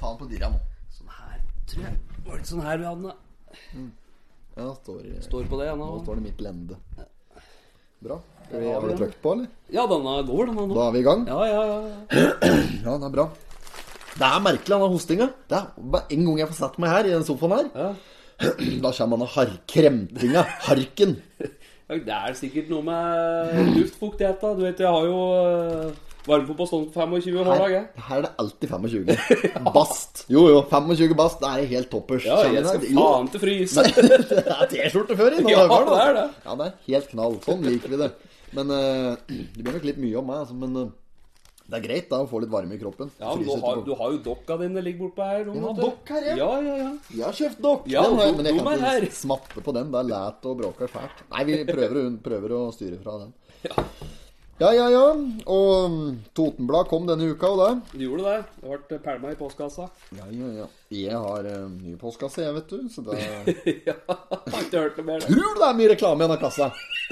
faen på dirra nå. Sånn her, tror jeg. Var det ikke sånn her vi hadde den? da? Ja, står, Står på det ennå. Nå står det mitt lende. Bra. Skal vi, Ja, har bra. du trykt på, eller? Ja, denne går, denne nå. Da er vi i gang. Ja, ja, ja. Ja, det er bra. Det er merkelig, denne hostinga. Det er bare en gang jeg får satt meg her, i den sofaen her, ja. da kommer denne har kremtinga. Harken. Ja, Det er sikkert noe med luftfuktighet, da. Du vet, jeg har jo eh, varme på sånn 25 hver Her, dag, jeg. her er det alltid 25. Bast. Jo, jo, 25 bast. Det er helt toppers. Ja, jeg Kjenner skal du det? Jo. faen til fryse. det er T-skjorte før i. nå, Ja, Øyvind, altså. det er det. Ja, det er helt knall. Sånn liker vi det. Men eh, Det blir nok litt mye om meg, altså, men eh, det er greit da å få litt varme i kroppen. Ja, men nå Fryse har, etterpå. du har jo dokka dine ligger bortpå her. Jeg har dokk her, ja. jeg. Ja, ja, ja. Jeg har kjøpt nok. Ja, den har, do- men jeg dum kan er her. ikke smatte på den. Det er læt og bråker fælt. Nei, vi prøver, å- prøver å styre fra den. Ja, ja, ja. Og mm, Totenblad kom denne uka, og det. Du gjorde det. Det ble eh, pælma i postkassa. Ja, ja, ja. Jeg har eh, ny postkasse, jeg, vet du. Så det ja, har ikke hørt noe mer. tror det er mye reklame i denne kassa.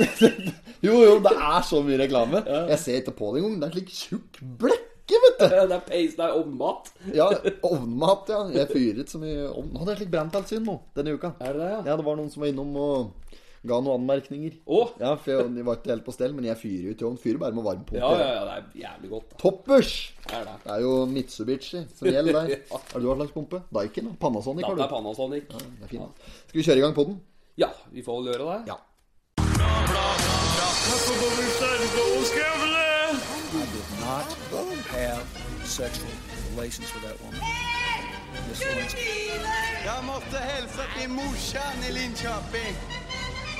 jo, jo, det er så mye reklame. Jeg ser ikke på det engang. Det er slik tjukk blekke, vet du. Det er peis, det er ommat. Ja, ovnmat, ja. Jeg fyrer ikke så mye ovn. Nå hadde jeg slik branntilsyn nå, denne uka. Er det det, ja? Ja, det var noen som var innom og ga noen anmerkninger. Å! Ja, for jeg, de var ikke helt på stell, men jeg fyrer jo til ovn. Fyrer bare med varm på. Ja, ja, ja, det er jævlig godt. da. Toppers! Det er det. Det er jo Mitsubishi som gjelder der. Ja. Er det du har slags pumpe? Daikin? da? Panasonic har Dette er du. Panasonic. Det er fint. Skal vi kjøre i gang på den? sånn, Ja, vi får vel gjøre det. Ja. not have sexual relations with that woman. Miss Lewinsky. Jeg måtte hilse til morsan i Linköping.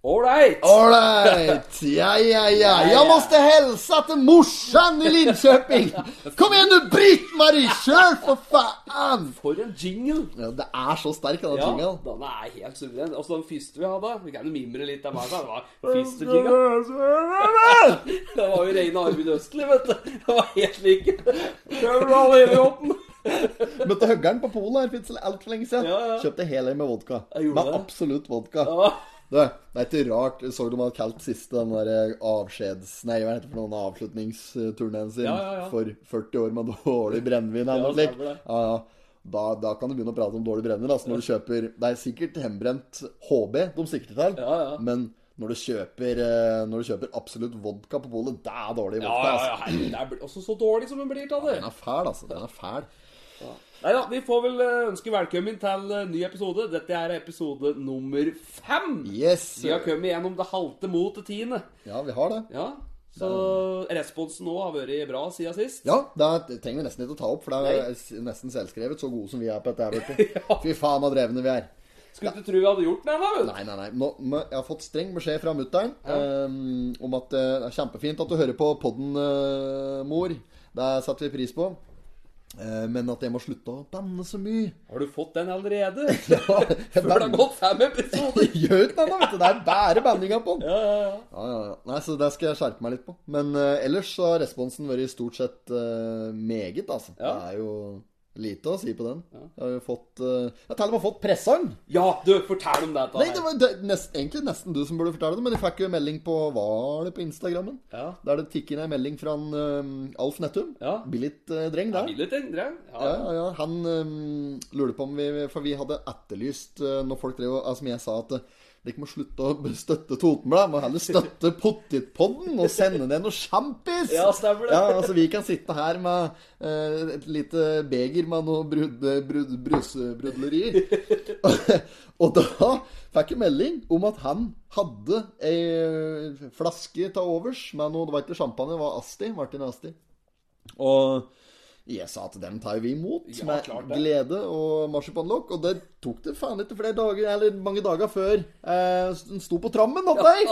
Ålreit! Ålreit! Ja, ja, ja. Jeg måtte hilse til morsan i Linköping. Kom igjen, du Britt-Marie! Kjør, for faen! For en jingle! Ja, det er så sterk, denne Ja, jingelen. den er helt suveren. Altså, den første vi hadde Vi kan jo mimre litt av meg, da. Det var første jingle. Det var jo rene Arvid Østli, vet du. Det var helt lik. Prøv å holde hele åpen. Møtte huggeren på polet her for ikke så altfor lenge siden. Ja, ja. Kjøpte hel øy med vodka. Jeg gjorde Med det. absolutt vodka. Ja. Du, det er ikke rart. Så du de hadde kalt siste den der eh, avskjeds... Nei, hva heter det for noen avslutningsturneen sin? Ja, ja, ja. For 40 år med dårlig brennevin eller noe Ja, slikt. stemmer det. Ja, ja. Da, da kan du begynne å prate om dårlig brennevin. Altså når du kjøper Det er sikkert hembrent HB de sikter til, Ja, ja. men når du, kjøper, eh, når du kjøper absolutt vodka på polet, det er dårlig Ja, vodka. ja, ja. altså. herregud, Det er også så dårlig som den blir av det. Den er fæl, altså. Den er fæl. Nei da, vi får vel eh, ønske velkommen til eh, ny episode. Dette er episode nummer fem. Yes! Vi har kommet gjennom det halte mot det tiende. Ja, vi har det. Ja, så responsen nå har vært bra siden sist. Ja, det trenger vi nesten ikke å ta opp, for det er s- nesten selvskrevet så gode som vi er på dette her. vet du. Fy faen så drevne vi er. Skulle ikke tro vi hadde gjort det, da. vet du. Nei, nei, nei. Nå, må- jeg har fått streng beskjed fra mutter'n ehm, om at eh, det er kjempefint at du hører på podden, eh, mor. Det setter vi pris på. Eh, men at jeg må slutte å banne så mye. Har du fått den allerede? Før Før det har gått fem episoder. Gjør ikke noe, vet du. Det er bare banninga på den. Ja, ja, ja. Ja, ja, ja. Nei, så det skal jeg skjerpe meg litt på. Men eh, ellers så har responsen vært stort sett eh, meget, altså. Ja. Det er jo lite å si på den. Jeg har jo fått eh, Jeg har til og med fått presang! Ja, du, fortell om dette. Nei, det var det, er nest, egentlig nesten du som burde fortelle det, men jeg fikk jo en melding på Var det på Instagrammen? Ja. Der det tikket inn en melding fra en, eh, Alf Nettum. Ja. Billigt eh, dreng der. Vil du tendre? Ja. Ja, ja, ja. Han um, lurte på om vi For vi hadde etterlyst eh, når folk drev og altså, Som jeg sa at eh, dere må slutte å støtte Totenbladet. Må heller støtte Pottitpodden og sende ned noe sjampis! Ja, stemmer det. Ja, altså, vi kan sitte her med eh, et lite beger med noe brud, brud, brusebrudleri. og da fikk jeg melding om at han hadde ei eh, flaske til overs med noe Det var ikke champagne, det var Asti. Martin Asti. Og jeg sa at den tar vi imot Ja, med klart det. glede og marsipanlokk. Og det tok det faen ikke flere dager, eller mange dager før eh, den sto på trammen opp der.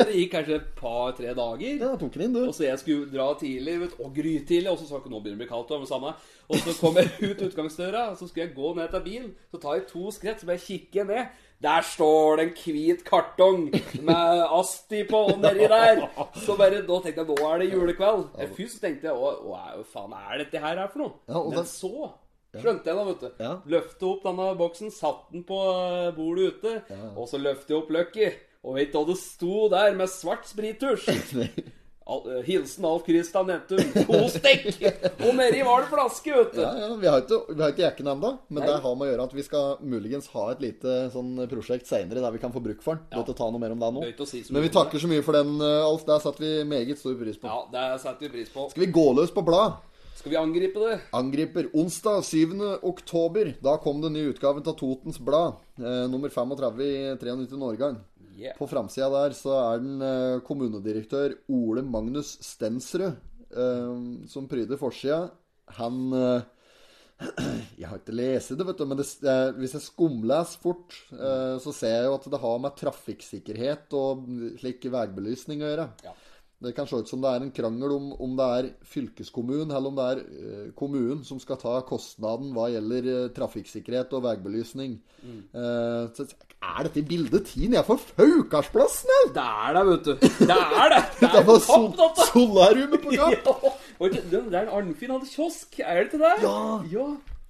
Det gikk kanskje et par-tre dager. Ja, tok den inn, Og du. så jeg skulle dra tidlig, vet, du, og grytidlig, og så sa jeg nå begynner det å bli kaldt. Og, det samme. og så kom jeg ut utgangsdøra, og så skulle jeg gå ned til bilen. Så tar jeg to skritt, så bare kikker jeg ned. Der står det en hvit kartong med Asti på og nedi der. Så bare, da tenkte jeg nå er det julekveld. Eh, Først så tenkte jeg å, å, hva faen er dette her for noe? Ja, og Men den- så Skjønte jeg da, vet du. Ja. Løfte opp denne boksen, satt den på eh, bordet ute, og så løfte jeg opp Lucky. Og vet du hva det sto der med svart sprittusj? Al eh, Hilsen Alf Christian Nentum. To stikk! Og nedi var det flaske, vet du. Ja, ja, vi har ikke, vi har ikke jekken ennå, men det har med å gjøre at vi skal muligens ha et lite sånn prosjekt seinere der vi kan få bruk for den. Godt å ta noe mer om det nå. Det er ikke å si så mye men vi om det. takker så mye for den, eh, Alf. Det setter vi meget stor pris på. Ja, det setter vi pris på. Skal vi gå løs på blad? Skal vi angripe det? Angriper. Onsdag 7. oktober. Da kom den nye utgaven av Totens Blad. Eh, nummer 35 i 93 årgang. Yeah. På framsida der så er den eh, kommunedirektør Ole Magnus Stensrud eh, som pryder forsida. Han eh, Jeg har ikke lest det, vet du, men det, eh, hvis jeg skumleser fort, eh, så ser jeg jo at det har med trafikksikkerhet og slik veibelysning å gjøre. Ja. Det kan se ut som det er en krangel om, om det er fylkeskommunen eller om det er eh, kommunen som skal ta kostnaden hva gjelder eh, trafikksikkerhet og veibelysning. Mm. Eh, så er dette bildet tiden jeg får Faukarsplassen, jeg! Det er det, vet du. Det er det. Det Det er var topp, dette. sol solariumet på Ja. gang! Og det det er en Arnfinn hadde kiosk, er det ikke det? Ja. ja.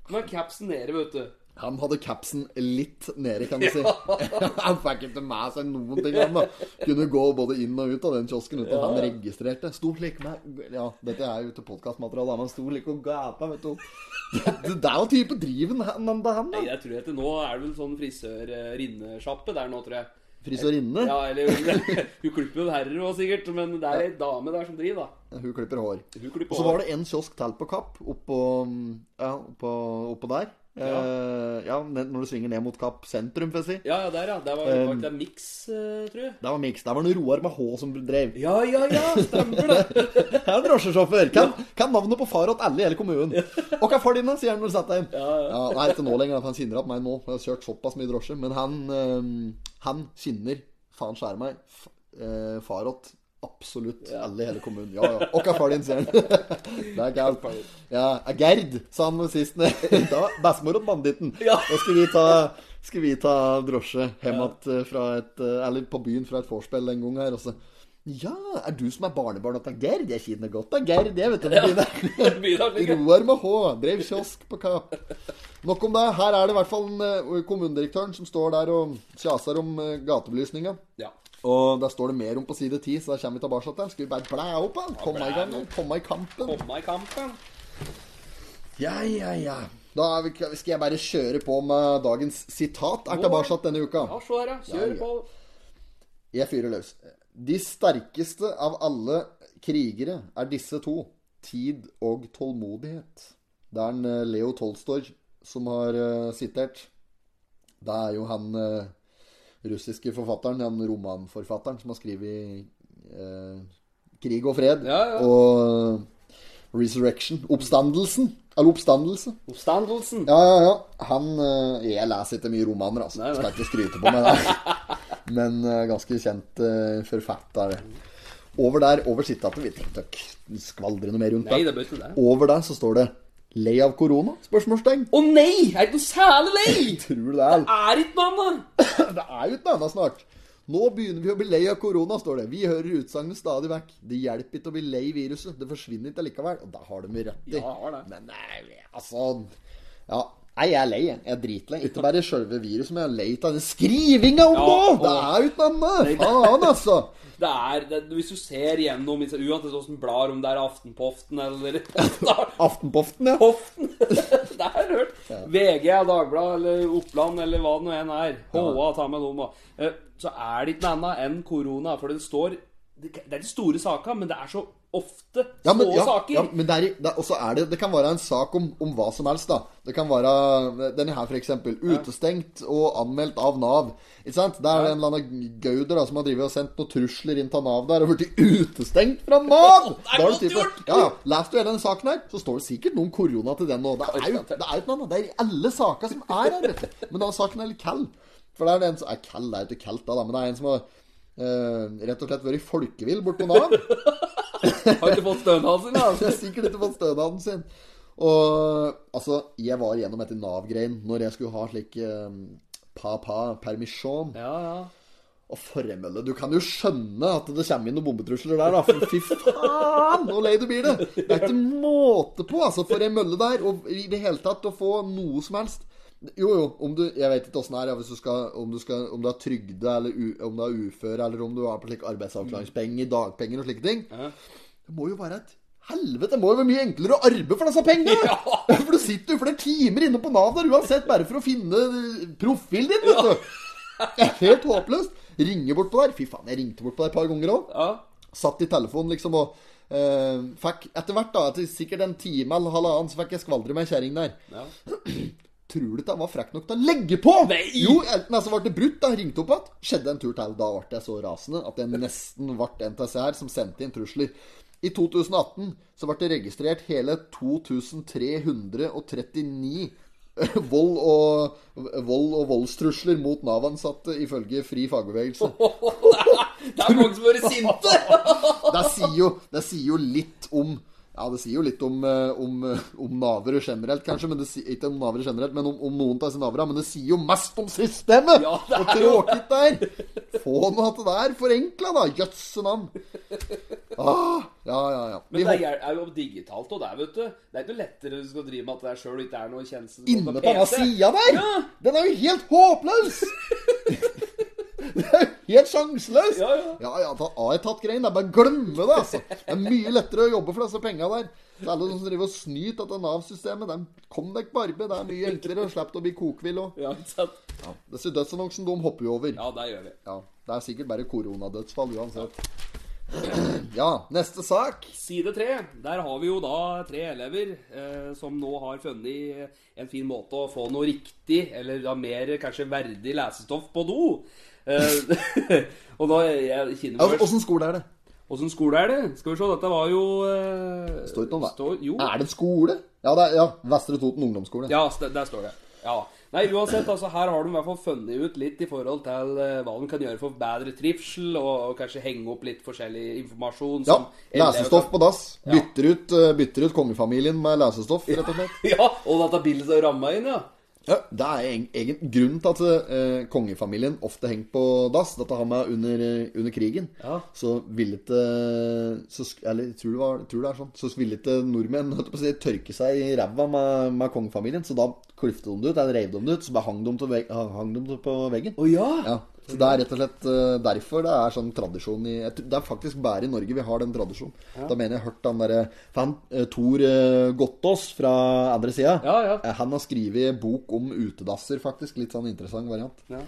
Med capsen nede, vet du. Han hadde capsen litt nede, kan du si. han fikk ikke med seg noen ting. Han da. kunne gå både inn og ut av den kiosken uten at han registrerte. Sto slik med Ja, dette er jo til podkastmateriale, men han sto slik og gapa, vet du. Det, det er jo type driven han, han, han da. Jeg tror at nå er det vel sånn frisør-rinnesjappe der nå, tror jeg. Frisørinne. Ja, eller Hun klipper jo herrer òg, sikkert, men det er ei dame der som driver, da. Hun klipper hår. Hun Og klipper så var det en kiosk til på Kapp, oppå, ja, oppå, oppå der. Ja. ja, når du svinger ned mot Kapp sentrum, får jeg si. Ja, ja, der, ja. Der var det faktisk en miks, eh, tror jeg. Der var Mix. Der var det Roar med H som drev. Ja, ja, ja, stemmer det. Jeg er drosjesjåfør. Kan, kan navnet på far åt alle i hele kommunen. Og hva er far din, da? sier han når du setter deg inn. Ja, nei, ikke nå lenger. Han kjenner igjen meg nå. Jeg har kjørt såpass mye drosje. Men han, eh, han kjenner, faen skjære meg, f- eh, far åt absolutt alle i hele kommunen. Ja, ja. Og hva er far din, sier han. Det er galt. Ja, er Gerd, sa han sist. ned. Da var bestemor åt banditten. Ja. Nå skal vi ta skal vi ta drosje hjem att fra et eh, Eller på byen fra et vorspiel en gang her, og så Ja, er du som er barnebarn til Gerd? Jeg kjenner godt av Gerd, jeg, vet du. Ja. Begynner slik, ja. Roar med H. Drev kiosk på Kapp. Nok om det. Her er det i hvert fall en, eh, kommunedirektøren som står der og kjaser om eh, gatebelysninga. ja. Og der står det mer om på side 10, så der kommer vi tilbake til den. Skal vi bare blæ opp, da? Komme i gang, da. komme i kampen. Komme i kampen. Ja, ja, ja. Da er vi, skal jeg bare kjøre på med dagens sitat. Er tilbake denne uka. Ja, se her, ja. Ja, Kjør ja. på. Jeg fyrer løs. De sterkeste av alle krigere er disse to. Tid og tålmodighet. Det er en eh, Leo Tolstoy som har eh, sitert. Det er jo han eh, russiske forfatteren, han romanforfatteren, som har skrevet eh, 'Krig og fred' Ja, ja. og eh, 'Resurrection'. Oppstandelsen. Eller oppstandelse. Oppstandelsen. Ja, ja, ja. Han eh, Jeg leser ikke mye romaner, altså. Nei, nei. Skal ikke skryte på meg det. Men eh, ganske kjent eh, forfatter. Over der, over sitatet Vi trenger ikke skvaldre noe mer rundt Nei, det. det bør ikke det. Over der så står det 'Lei av korona?' spørsmålstegn. Å nei! Er det noe særlig lei? Tror du det er Er ikke noe annet. Det er jo ikke noe annet snart. Nå begynner vi å bli lei av korona, står det. Vi hører utsagnet stadig vekk. Det hjelper ikke å bli lei viruset. Det forsvinner ikke likevel. Og da har de jo rett i. Ja, har det. Men nei, altså Ja. Nei, jeg er lei. jeg. Jeg er dritlei. Ikke bare selve viruset, men jeg er lei av den skrivinga om Ja, nå! Det og- er jo ikke noe annet! Faen, altså! Det er, det, hvis du ser gjennom Uansett åssen blar, om det er Aftenpoften eller Aftenpoften, Aftenpoften! ja. det har jeg hørt. VG, Dagbladet eller Oppland eller hva det nå enn er. HA, ta med noen, da. Eh, Så er det ikke noe annet enn korona. For det står Det det er de store sakene, men det er så ofte små Ja, men, ja, saker. ja, men det er, det, er- også er det, det kan være en sak om, om hva som helst, da. Det kan være denne her, f.eks. Utestengt og anmeldt av Nav. Ikke sant? Det er en eller annen gauder da, som har drivet og sendt noen trusler inn til Nav der og blitt utestengt fra Nav! Det er Da har du godt tid til- gjort! Ja, ja. Leser du hele denne saken her, så står det sikkert noen korona til den nå. Det er jo det er jo ikke noe annet. Det er i alle saker som er her, vet du. Men denne saken er litt kald. For det er det en som er kald, det er jo ikke kaldt da, da, men det er en som har eh, rett og slett vært folkevill bort på Nav. Har ikke fått stønaden Så sin, altså. jeg har sikkert ikke fått stønaden sin. Og altså, jeg var gjennom ehm, etter Nav-greien når jeg skulle ha slik eh, pa-pa-permisjon. Ja, ja. Og formølle. Du kan jo skjønne at det kommer inn noen bombetrusler der, da. For fy faen, hvor lei du blir det! Det er ikke måte på, altså, for ei mølle der. Og i det hele tatt å få noe som helst. Jo, jo, om du Jeg vet ikke åssen det er, ja, hvis du skal, om, du skal, om du er trygde, eller u, om du er ufør, eller om du har på slik arbeidsavklaringspenger, dagpenger og slike ting. Det må jo være et helvete! Det må jo være mye enklere å arbeide for disse pengene! For du sitter jo flere timer inne på Nav der uansett, bare for å finne eh, profilen din, vet du! Det er helt håpløst. Ringer bort på der. Fy faen, jeg ringte bort på der et par ganger òg. Ja. Satt i telefonen liksom og eh, fikk Etter hvert, da, etter sikkert en time eller halvannen, så fikk jeg skvaldre med ei kjerring der. ja. Tror du ikke han var frekk nok til å legge på? Nei! Jo, enten altså ble det brutt, da ringte opp igjen. Skjedde en tur til. Da ble jeg så rasende at jeg nesten ble en av disse her som sendte inn trusler. I 2018 så ble det registrert hele 2339 eh, vold og, vold og voldstrusler mot Nav-ansatte, ifølge Fri fagbevegelse. Det er mange som har vært sinte! Det sier jo, det sier jo litt om ja, det sier jo litt om, eh, om, eh, om navere generelt, kanskje. Men det sier, ikke om navere generelt, men om, om noen av disse navera. Men det sier jo mest om systemet! Ja, det er Hvor tråkig det er! Få nå at det er forenkla, da! Jøsse navn! Ah, ja, ja, ja. Vi Men det hopper er, er jo digitalt og der, vet du. Det er ikke noe lettere hvis du skal drive med at det er sjøl og ikke er noe kjensel. inne på den sida der! Ja. Den er jo helt håpløs! Det er jo helt sjanseløst! Ja, ja. Ja, ja, da har jeg tatt greien. Det er bare å glemme det, altså. Det er mye lettere å jobbe for disse penga der. Det er alle som driver og snyter av Nav-systemet. De kom deg på arbeid. Det er mye enklere. og Slipp å bli kokvill og Ja, ikke sant? ja. Disse dødsannonsene, de hopper jo over. Ja, det gjør vi. Ja. Det er sikkert bare koronadødsfall uansett. Ja, neste sak. Side tre. Der har vi jo da tre elever eh, som nå har funnet en fin måte å få noe riktig, eller da mer kanskje verdig lesestoff på do. Eh, og da jeg kjenner meg Åssen skole er det? Åssen skole er det? Skal vi se, dette var jo eh, Står ikke noe om det. står- Jo. Er det en skole? Ja, det er, ja. Vestre Toten ungdomsskole. Ja, st- der står det. Ja. Nei, uansett, altså, her har de i hvert fall funnet ut litt i forhold til eh, hva de kan gjøre for bedre trivsel, og, og kanskje henge opp litt forskjellig informasjon. Ja. som elever Lesestoff kan- på dass. Bytter ut, eh, bytter ut kongefamilien med lesestoff, rett og slett. Ja, og dette bildet som ramma inn, ja. Ja, Det er egen, egen grunn til at eh, kongefamilien ofte henger på dass. Dette har med under, eh, under krigen. Ja. Så ville ikke så sk- Eller jeg tror det, var, jeg tror det er sånn. Så ville ikke nordmenn holdt jeg på å si, tørke seg i ræva med, med kongefamilien. Så da klifte de det ut, eller reiv de det ut, så bare hang de til vegg- hang de det på veggen. Å ja? Ja, så Det er rett og slett eh, derfor det er sånn tradisjon i jeg tror- Det er faktisk bare i Norge vi har den tradisjonen. Da mener jeg hørt han derre For han eh, Tor eh, Gottaas fra andre sida, Ja, ja. eh, han har skrevet bok om utedasser, faktisk. Litt sånn interessant variant. Ja.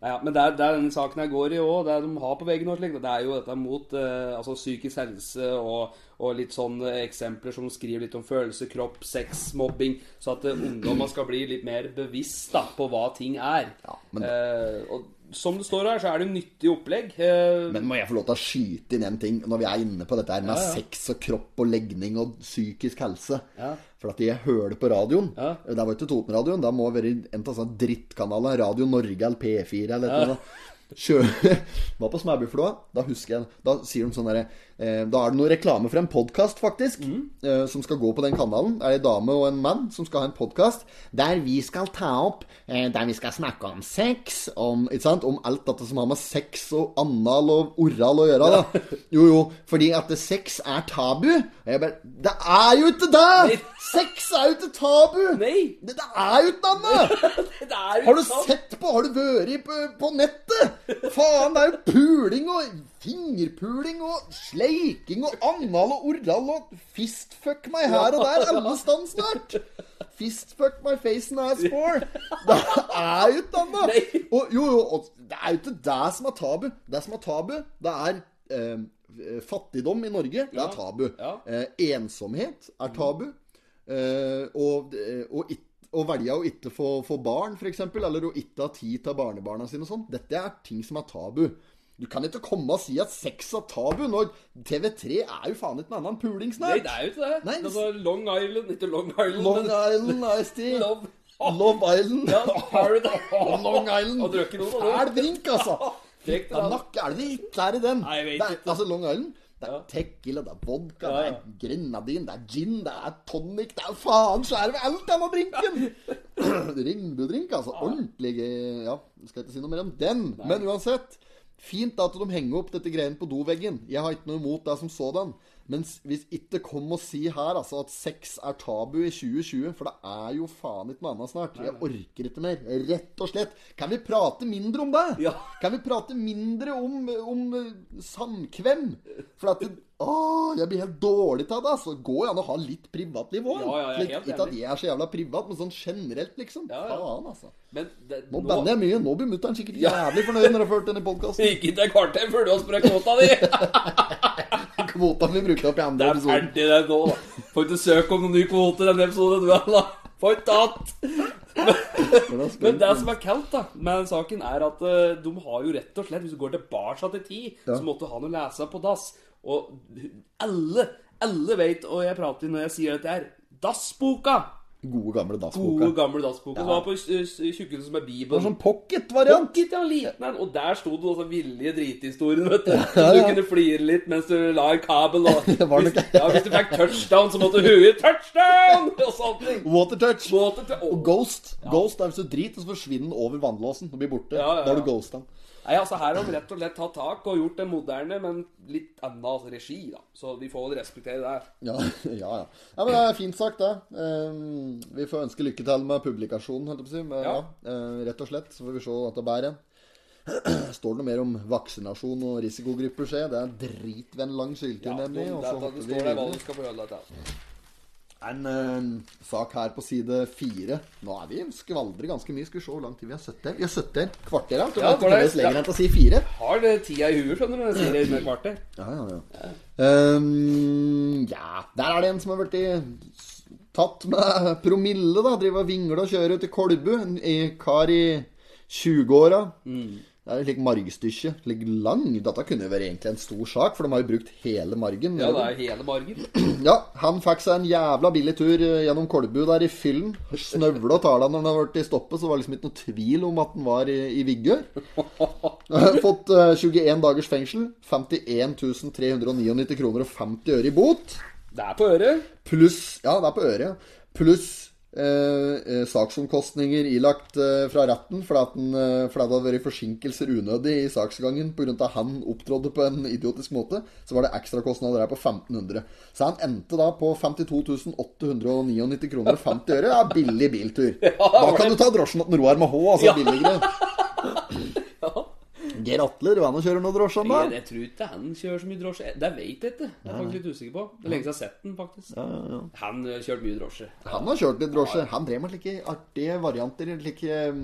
Ja, men det er, det er denne saken her går i òg. Det de har på veggen, og slik, det er jo dette mot eh, altså psykisk helse og, og litt sånne eksempler som skriver litt om følelser, kropp, sex, mobbing. Så at uh, ungdommer skal bli litt mer bevisst da, på hva ting er. Ja, men- Eh, og som det står her, så er det nyttig opplegg. eh, Men må jeg få lov til å skyte inn en ting når vi er inne på dette her med Ja, ja. sex og kropp og legning og psykisk helse? Ja. For at jeg hører det på radioen. Ja. Det var ikke Totenradioen. Det må ha vært en av sånne drittkanaler. Radio Norge eller P4 eller et eller annet. Kjø... Var på Smæbyflåa. Da husker jeg Da sier de sånn derre eh, Da er det noe reklame for en podkast, faktisk, eh, som skal gå på den kanalen. Det er ei dame og en mann som skal ha en podkast der vi skal ta opp eh, Der vi skal snakke om sex, om, ikke sant? om alt dette som har med sex og anal og oral å gjøre. Da. Jo, jo, fordi at sex er tabu. Og jeg bare Det er jo ikke det! Sex er jo ikke tabu! Nei. Det, det er jo ikke noe annet! det er jo Har du sant. sett på? Har du vært på, på nettet? Faen, det er jo puling og fingerpuling og sleiking og anal og oral og fistfuck meg her og der alle stand snart. Fistfuck my face and ass for. Det er jo ikke annet. Nei. Og jo, jo, og det er jo ikke det som er tabu. Det som er tabu, det er eh, Fattigdom i Norge, det er tabu. Ja. Eh, ensomhet er tabu. Eh, og, eh, og, it, å velge å ikke få, få barn, f.eks., eller å ikke ha tid til barnebarna sine og sånn, dette er ting som er tabu. Du kan ikke komme og si at sex er tabu, når TV3 er jo faen ikke noe annet enn puling Nei, snart. det er jo ikke det. Nei. altså, Long Island Ikke Long Island, Long men Island Ice Tea. Love. Love Island. Ja, Paradise. Og Long Island. Og drukket noen av Fæl dem. drink, altså. Drikk det, Det er da. nok er det ikke er i den. Nei, jeg vet det er, ikke. Altså Long Island. Det er Ja. tequila, det er vodka, Ja, ja. det er grenadin, det er gin, det er tonic Det er faen så er det alt denne drinken! eh, Ringbudrink, altså. Ordentlig gøy. Ja, skal ikke si noe mer om den. Men uansett. Fint at de henger opp dette greiene på doveggen. Jeg har ikke noe imot det som sådan. Men s- hvis ikke kom og si her altså, at sex er tabu i 2020, for det er jo faen ikke noe annet snart. Jeg orker ikke mer. Rett og slett. Kan vi prate mindre om det? Ja. Kan vi prate mindre om, om eh, samkvem? For at det, Åh, jeg blir helt dårlig av det. Altså. Det Går jo an å ha litt privatliv òg. Ja, ja, jeg er helt ikke at enig. jeg er så jævla privat, men sånn generelt, liksom. Ja, ja. Faen, altså. Men det, Nå banner jeg mye. Nå blir mutter'n sikkert jævlig fornøyd når hun har hørt denne podkasten. Ikke til kvarter før du har sprukket kvota di! Kvota vi brukte opp i Det andre er episoder. ferdig det nå, da. Får ikke søke om noen ny kvote i denne episoden du er, da. Får tatt! Men det som er kaldt da med saken, er at eh, de har jo rett og slett Hvis du går tilbake til ti, Ja. så måtte du ha noe å lese på dass. Og alle, alle vet, og jeg prater når jeg sier dette her, dassboka! Gode, gamle Gode, dassboka. gamle dassboka. Som var på eh, tjukkelsen som Det er var Bibelen. sånn pocket-variant. Pocket, ja, liten en. Og der sto det også villige drithistorien, vet du. Ja, Du ja. kunne flire litt mens du la i kabel. Og Det var hvis, nok- ja, hvis du fikk touchdown, så måtte huet touchdown! Og sånne ting. Watertouch. Måte til å... Og Ghost. Ghost er hvis du driter, så forsvinner den over vannlåsen og blir borte. Ja, ja, ja. Da har du ghosta den. Nei, altså Her har vi rett og slett tatt tak og gjort det moderne, men litt annen altså, regi. da Så vi får vel respektere det. Ja, ja, ja. ja. Men det er fint sagt, det. Ehm, vi får ønske lykke til med publikasjonen, holdt jeg på å si. Men, ja. Ja. eh, rett og slett. Så får vi se at det bærer. Står det noe mer om vaksinasjon og risikogrupper, se. Det er drit ved en lang syltid, Ja, nemlig. det, Og det, så det hopper vi står der hva videre. du skal forholde deg til. En eh, sak her på side fire. Nå er vi skvaldrer ganske mye. Skal vi se hvor lang tid vi har sittet her. Vi har sittet her kvarter, ja. Så det Ja, er var det- ikke lenger enn til å si fire. Har det tida i huet, skjønner du. når jeg Sier det under kvarter. Ja, ja, ja. Ehm, ja, der er det en som har blitt tatt med promille, da. Driver og vingler og kjører til Kolbu. En en kar i 20-åra. Mm. Det er et slikt margstykke. Slik lang. Dette kunne jo vært egentlig en stor sak, for de har jo brukt hele margen. Ja, det er hele margen. Ja, han fikk seg en jævla billig tur eh, gjennom Kolbu der i fyllen. Snøvla og tala når han har vært i stoppet, så det var liksom ikke noe tvil om at han var i, i vigør. Fått eh, 21 dagers fengsel, 51 399 kroner og 50 øre i bot. Det er på øret. Pluss Ja, det er på øret, ja. Pluss eh, eh, saksomkostninger ilagt eh, fra retten fordi, at den, eh, fordi det hadde vært forsinkelser unødig i saksgangen pga. han opptrådde på en idiotisk måte, så var det ekstrakostnader her på 1500. Så han endte da på 52 899 kroner og 50 øre. Ja, billig biltur. Da kan du ta drosjen til Roar med H, altså. Billigere. Ja. Geir Atle, du er nå og kjører noe drosje om Jeg, dagen? jeg tror ikke han kjører så mye drosje. Det vet jeg ikke. Jeg er faktisk litt usikker på. Det er lenge siden jeg har sett den, faktisk. Han eh, kjørte mye drosje. Han har kjørt litt drosje. Han drev med slike artige varianter. Slike, um,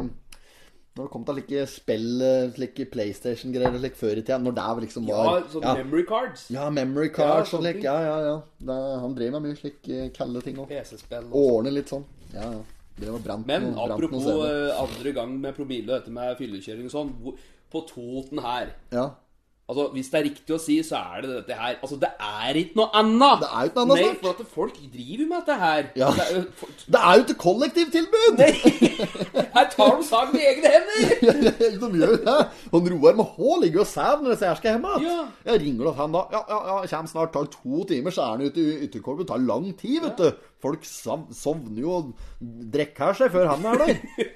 når det kom til slike spill, eh, slike PlayStation-greier og slik før i tida. Når det liksom Ja, var sånn ja, memory cards. ja, memory cards Ja, og sånne slik. ting. Ja, ja, ja. Det, han drev med mye slike kalde ting òg. PC-spill. og Ordne litt sånn. Ja, ja. Drev og brant Men noe- brant noe apropos CD. eh, andre gang med promille og dette med fyllekjøring og sånn. hvor- På Toten her Ja. Altså, Hvis det er riktig å si, så er det dette her. Altså, Det er ikke noe annet! Det er jo ikke noe annet Nei, snart. for at folk driver med dette her. Ja. Det er jo for- Det er jo ikke kollektivtilbud! her tar de saken i egne hender! De gjør jo det. Han Roar med H ligger jo og sover når disse her skal hjem igjen. Ja. Jeg ringer til han da. Ja, ja, ja, kommer snart. Tar to timer, så er han ute i ytterkorpet. Det tar lang tid, vet du. Folk sov- sovner jo og drikker her seg før han er der.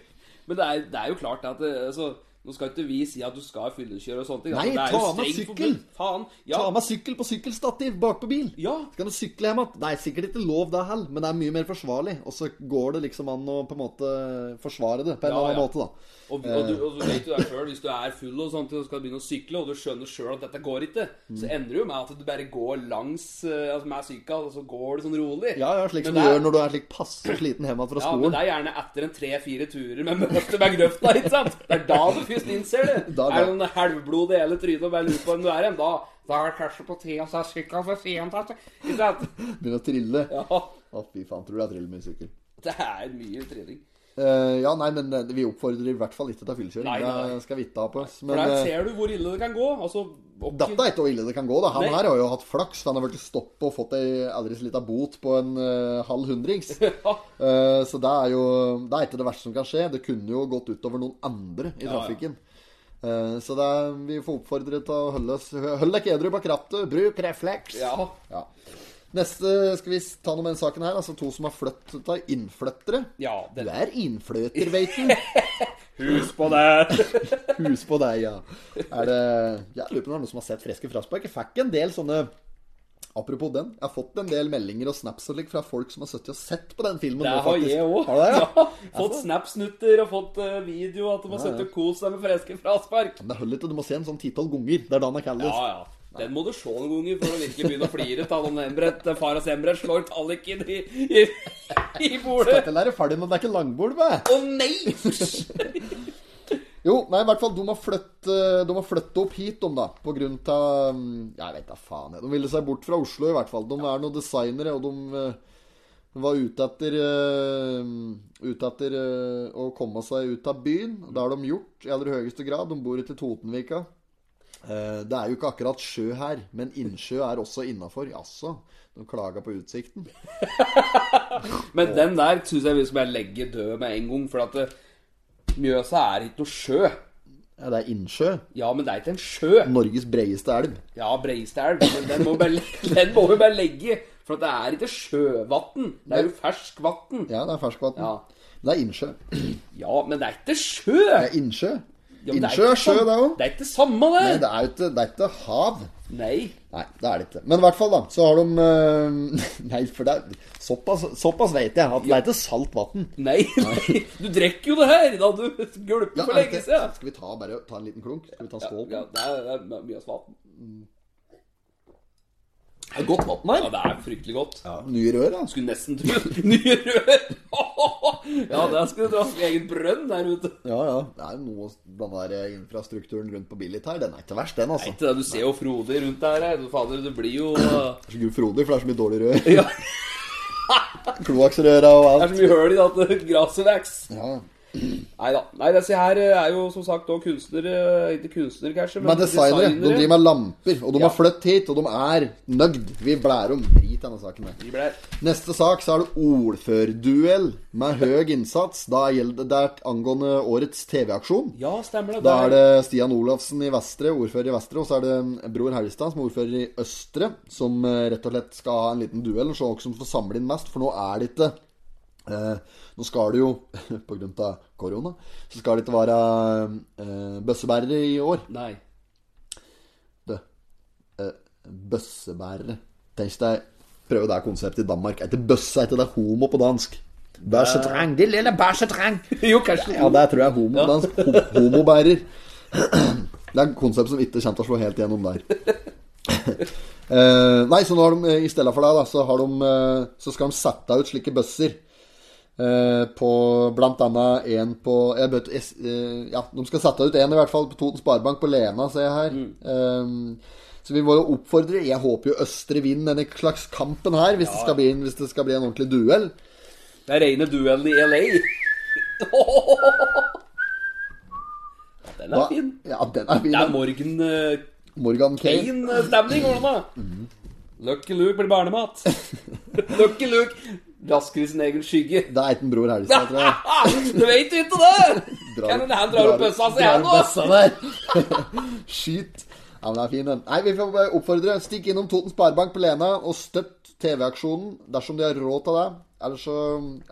Men det er, det er jo klart at det, altså, Nå skal ikke vi si at du skal fyllekjøre og sånne ting. Nei, altså, det er ta jo med strengt sykkel. forbudt. Faen. Ja. Ta med sykkel på sykkelstativ bakpå bil. Ja. Så kan du sykle hjem igjen. Det er sikkert ikke lov, det heller, men det er mye mer forsvarlig. Og så går det liksom an å på en måte forsvare det på en Ja, eller annen ja. måte, da. Og, og, du, og du vet jo det sjøl, hvis du er full og sånt, og skal begynne å sykle, og du skjønner sjøl at dette går ikke, så Mm. ender det jo med at du bare går langs eh, altså med sykkel, og så går du sånn rolig. Ja, ja, slik som du Men det er- gjør når du er slik passe sliten hjemme fra Ja, men skolen. det er gjerne etter en tre-fire turer med møte med grøfta, ikke sant? Det er da du først innser det. Da- da- Er det noen halvblod i hele trynet og bare lurer på hvem du er igjen, da Da er det kanskje på tide å ta sykkelen for sent, altså. ikke sant? Begynner å trille. Ja, Å, fy faen, tror du jeg triller med sykkel. det er mye trening. Eh, ja, nei, men eh, vi oppfordrer i hvert fall ikke til Nei, fyllekjøring. nei, nei. Det skal vi ikke ha på oss. For Men der eh, ser du hvor ille det kan gå. Altså, ok- dette er ikke hvor ille det kan gå. da Han Nei. her har jo hatt flaks. for Han har vært stoppet og fått ei aldri så lita bot på en eh, halv hundrings. Ja, Eh, så det er jo Det er ikke det verste som kan skje. Det kunne jo gått utover noen andre i Ja, ja. trafikken. Eh, så det er, vi får oppfordre til å holde oss Hold deg edru bak rattet. Bruk refleks. ja. Ja. Neste skal vi ta noe med den saken her. Altså to som har flyttet av innflyttere. ja Du det, er innfløter, veit du. Hus på det! Hus på deg, ja. Er det Jeg lurer på om det er noen som har sett Freske fraspark. Jeg fikk en del sånne Apropos den, jeg har fått en del meldinger og snaps og slik fra folk som har sittet og sett på den filmen. Det nå, har faktisk. jeg òg. Har du det, ja? Fått snapsnutter og fått eh, video at de har sittet og kost seg med freske fraspark. Men det holder ikke, du må se en sånn titall ganger. Det er da den er Ja, kaldest. ja. Den må du se noen ganger for å virkelig begynne å flire av om Embret, Faras Embret slår talliken i, i, i bordet. Dette er ferdig, men det er ikke langbord med. Å nei! Jo, nei, i hvert fall, de har flyttet, eh, de har flyttet opp hit, de, da. På grunn av mm, Jeg vet da faen. jeg. De ville seg bort fra Oslo, i hvert fall. De er noen designere, og de eh, var ute etter eh, Ute etter eh, å komme seg ut av byen. Det har de gjort i aller høyeste grad. De bor ute i Totenvika. Eh, Det er jo ikke akkurat sjø her, men innsjø er også innafor. Jaså, de klaga på utsikten. Men den der syns jeg vi skal bare legge død med en gang, for at eh, Mjøsa er ikke noe sjø. Ja, det er innsjø. Ja, men det er ikke en sjø. Norges breieste elv. Ja, Breistad elv, men den må, vi bare, den må vi bare legge. For at det er ikke sjøvann. Det er jo ferskvann. Ja, det er ferskvann. Ja. Det er innsjø. ja, men det er ikke sjø! Det er innsjø. Ja, men det innsjø ikke er sjø, sam- det òg. Det er ikke samme, det. Nei, det er jo ikke, det er ikke hav. Nei. Nei, det er det ikke. Men i hvert fall, da, så har de eh, Nei, for det er Såpass, såpass vet jeg at det er ikke salt vann. Nei, nei. Du drikker jo det her da du gulper for lenge siden. Skal vi ta, bare ta en liten klunk? Skal vi ta en skål? Ja, det er, det er mye vann. Mm. Det er godt vann Ja, det er fryktelig godt. Nye rør, da. Skulle nesten tro nye rør. Ja, der skulle du dra sin egen brønn der ute. Ja, ja. Det er noe Den der infrastrukturen rundt på Billit her, den er ikke verst, den, altså. Nei, til det, du ser jo Frode rundt der. her. Du, fader, du blir jo eh, Det er så gud frodig, for det er så mye dårlig rør. Ja. Kloakksrøra og Det er alt. så mye høl i det at det graset vokser. Ja. Nei da. Nei, disse her eh, er jo som sagt òg kunstnere eh, Ikke kunstnere, kanskje, Men designere, de driver med lamper, og de Ja. har flyttet hit, og de er nøgd. Vi blærer om drit i denne saken her. De ble- Neste sak så er det ordførerduell med høy innsats. Da gjelder det er angående årets TV-aksjon. Ja, stemmer det. Da er det Stian Olafsen i Vestre, ordfører i Vestre, og så er det Bror Helgestad, som er ordfører i Østre, som eh, rett og slett skal ha en liten duell og se hvem som får samle inn mest, for nå er det ikke eh, Nå skal det jo, på grunn av korona, så skal det ikke være eh, bøssebærere i år. Nei. Du, eh, bøssebærere Tenk deg Prøv det her konseptet i Danmark. Etter bøsse, etter det er homo på dansk. Bæsjetrang, de lille bæsjetrang. Jo, kanskje Ja, det tror jeg er homo på dansk. Ho homobærer. Det er et konsept som ikke kommer til å slå helt gjennom der. Eh, nei, så nå har de, eh, i stedet for deg, da, så, har de, eh, så skal de sette ut slike bøsser. Eh, på blant annet en på jeg vet, jeg, s- eh, Ja, de skal sette ut en i hvert fall på Toten Sparebank på Lena, ser jeg her. Eh, så vi må jo oppfordre Jeg håper jo Østre vinner denne slags kampen her, hvis, det, skal bli, en- hvis det skal bli en ordentlig duell. Det er rene duellen i LA. Ja, den er Da- fin. Ja, den er fin. Det er da. Morgan eh, Morgan Kane. Kane-stemning, hvordan da? Mhm. Lucky Luke blir barnemat. Lucky Luke rasker i sin egen skygge. Det er ikke en bror Helgestad, tror jeg. du vet jo ikke det! Drar- Kan hende han drar opp bøssa si, drar han opp nå. bøssa der. Skyt. Ja, men det er fin, den. Nei, vi får bare oppfordre. Stikk innom Toten Sparebank på Lena og støtt TV-aksjonen dersom de har råd til det. Ellers så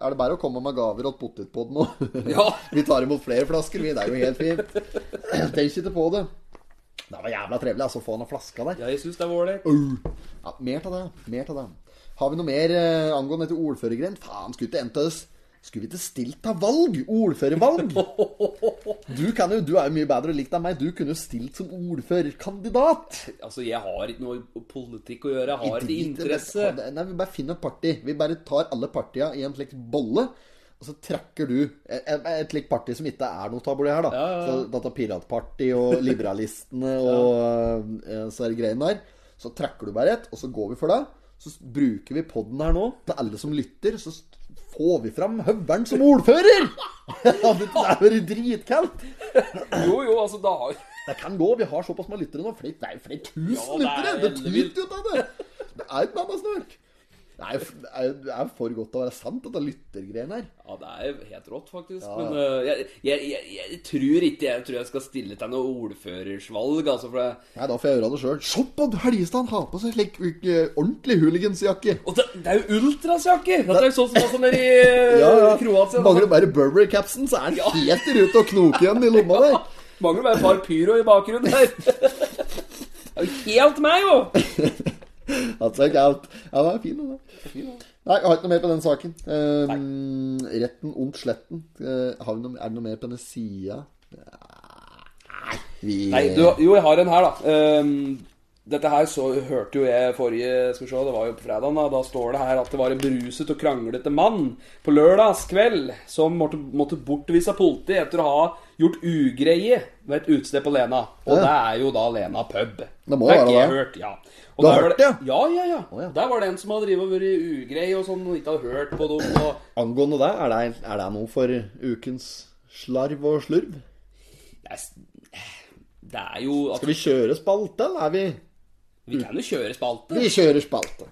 er det bare å komme med gaver og potetpodden òg. Ja. Vi tar imot flere flasker, vi. Det er jo helt fint. Tenk ikke på det. Det var jævla trivelig, altså, å få noen flasker der. Ja, jeg syns det er ålreit. Ja, mer til det. Mer til det. Har vi noe mer eh, angående dette ordførergrendt? Faen, skulle ikke endt oss. Skulle vi ikke stilt til valg? Ordførervalg? Du, kan jo, du er jo mye bedre likt enn meg. Du kunne jo stilt som ordførerkandidat. Altså, jeg har ikke noe politikk å gjøre. Jeg har ikke Drit i det. interesse. Nei, Vi bare finner et parti. Vi bare tar alle partiene i en slik bolle. Og så trekker du et, et slikt parti som ikke er noe tabloid her, da. Så da tar Piratpartiet og Liberalistene og eh, så er det greiene der. Så trekker du bare et, og så går vi for det. Så s- bruker vi podden her nå til alle som lytter. Så s- får vi fram høveren som ordfører! det er jo dritkaldt! Jo, jo, altså, da har Det kan gå. Vi har såpass med lyttere nå. Flere, flere, flere tusen Ja, det er lyttere! Det helt tyter jo av det! Det er ikke banna snørk. Det er, jo f- det er jo- det er for godt til å være sant, dette lyttergreiene her. Ja, det er jo helt rått, faktisk. Men eh, jeg, jeg, jeg, jeg tror ikke jeg tror jeg skal stille til noe ordførersvalg, altså. For det, Nei, da får jeg gjøre det sjøl. Se på Helgestad, han har på seg slik eh, ordentlig hooligansjakke. og det, det er jo ultrasjakker! Dette er jo sånn som altså, nede i eh, Kroatia. Mangler bare Burberry-capsen, så er han Ja. helt i rute og knoker igjen i lomma der. Mangler bare et par pyro i bakgrunnen her. Det er jo helt meg, jo! That's like out. Ja, det er fin, den. der. Nei, jeg har ikke noe mer på den saken. Ehm, retten om sletten. Eh, har vi noe, er det noe mer på denne sida? Vi Nei, du, jo, jeg har en her, da. Ehm, dette her så hørte jo jeg forrige Skal vi se, det var jo på fredagen da. Da står det her at det var en bruset og kranglete mann på lørdagskveld som måtte, måtte bortvise av politiet etter å ha gjort ugreie ved et utested på Lena. Og det er jo da Lena pub. Det må er være ikke jeg det. Hørt, ja. Og Du har der var hørt det, Ja, ja, ja. ja. Der var det en som hadde drivet og vært ugrei og sånn, og ikke hadde hørt på dem. Og Angående det, er det, er det noe for ukens slarv og slurv? det er, det er jo altså, Skal vi kjøre spalte, eller er vi Vi kan jo kjøre spalte. Vi kjører spalte.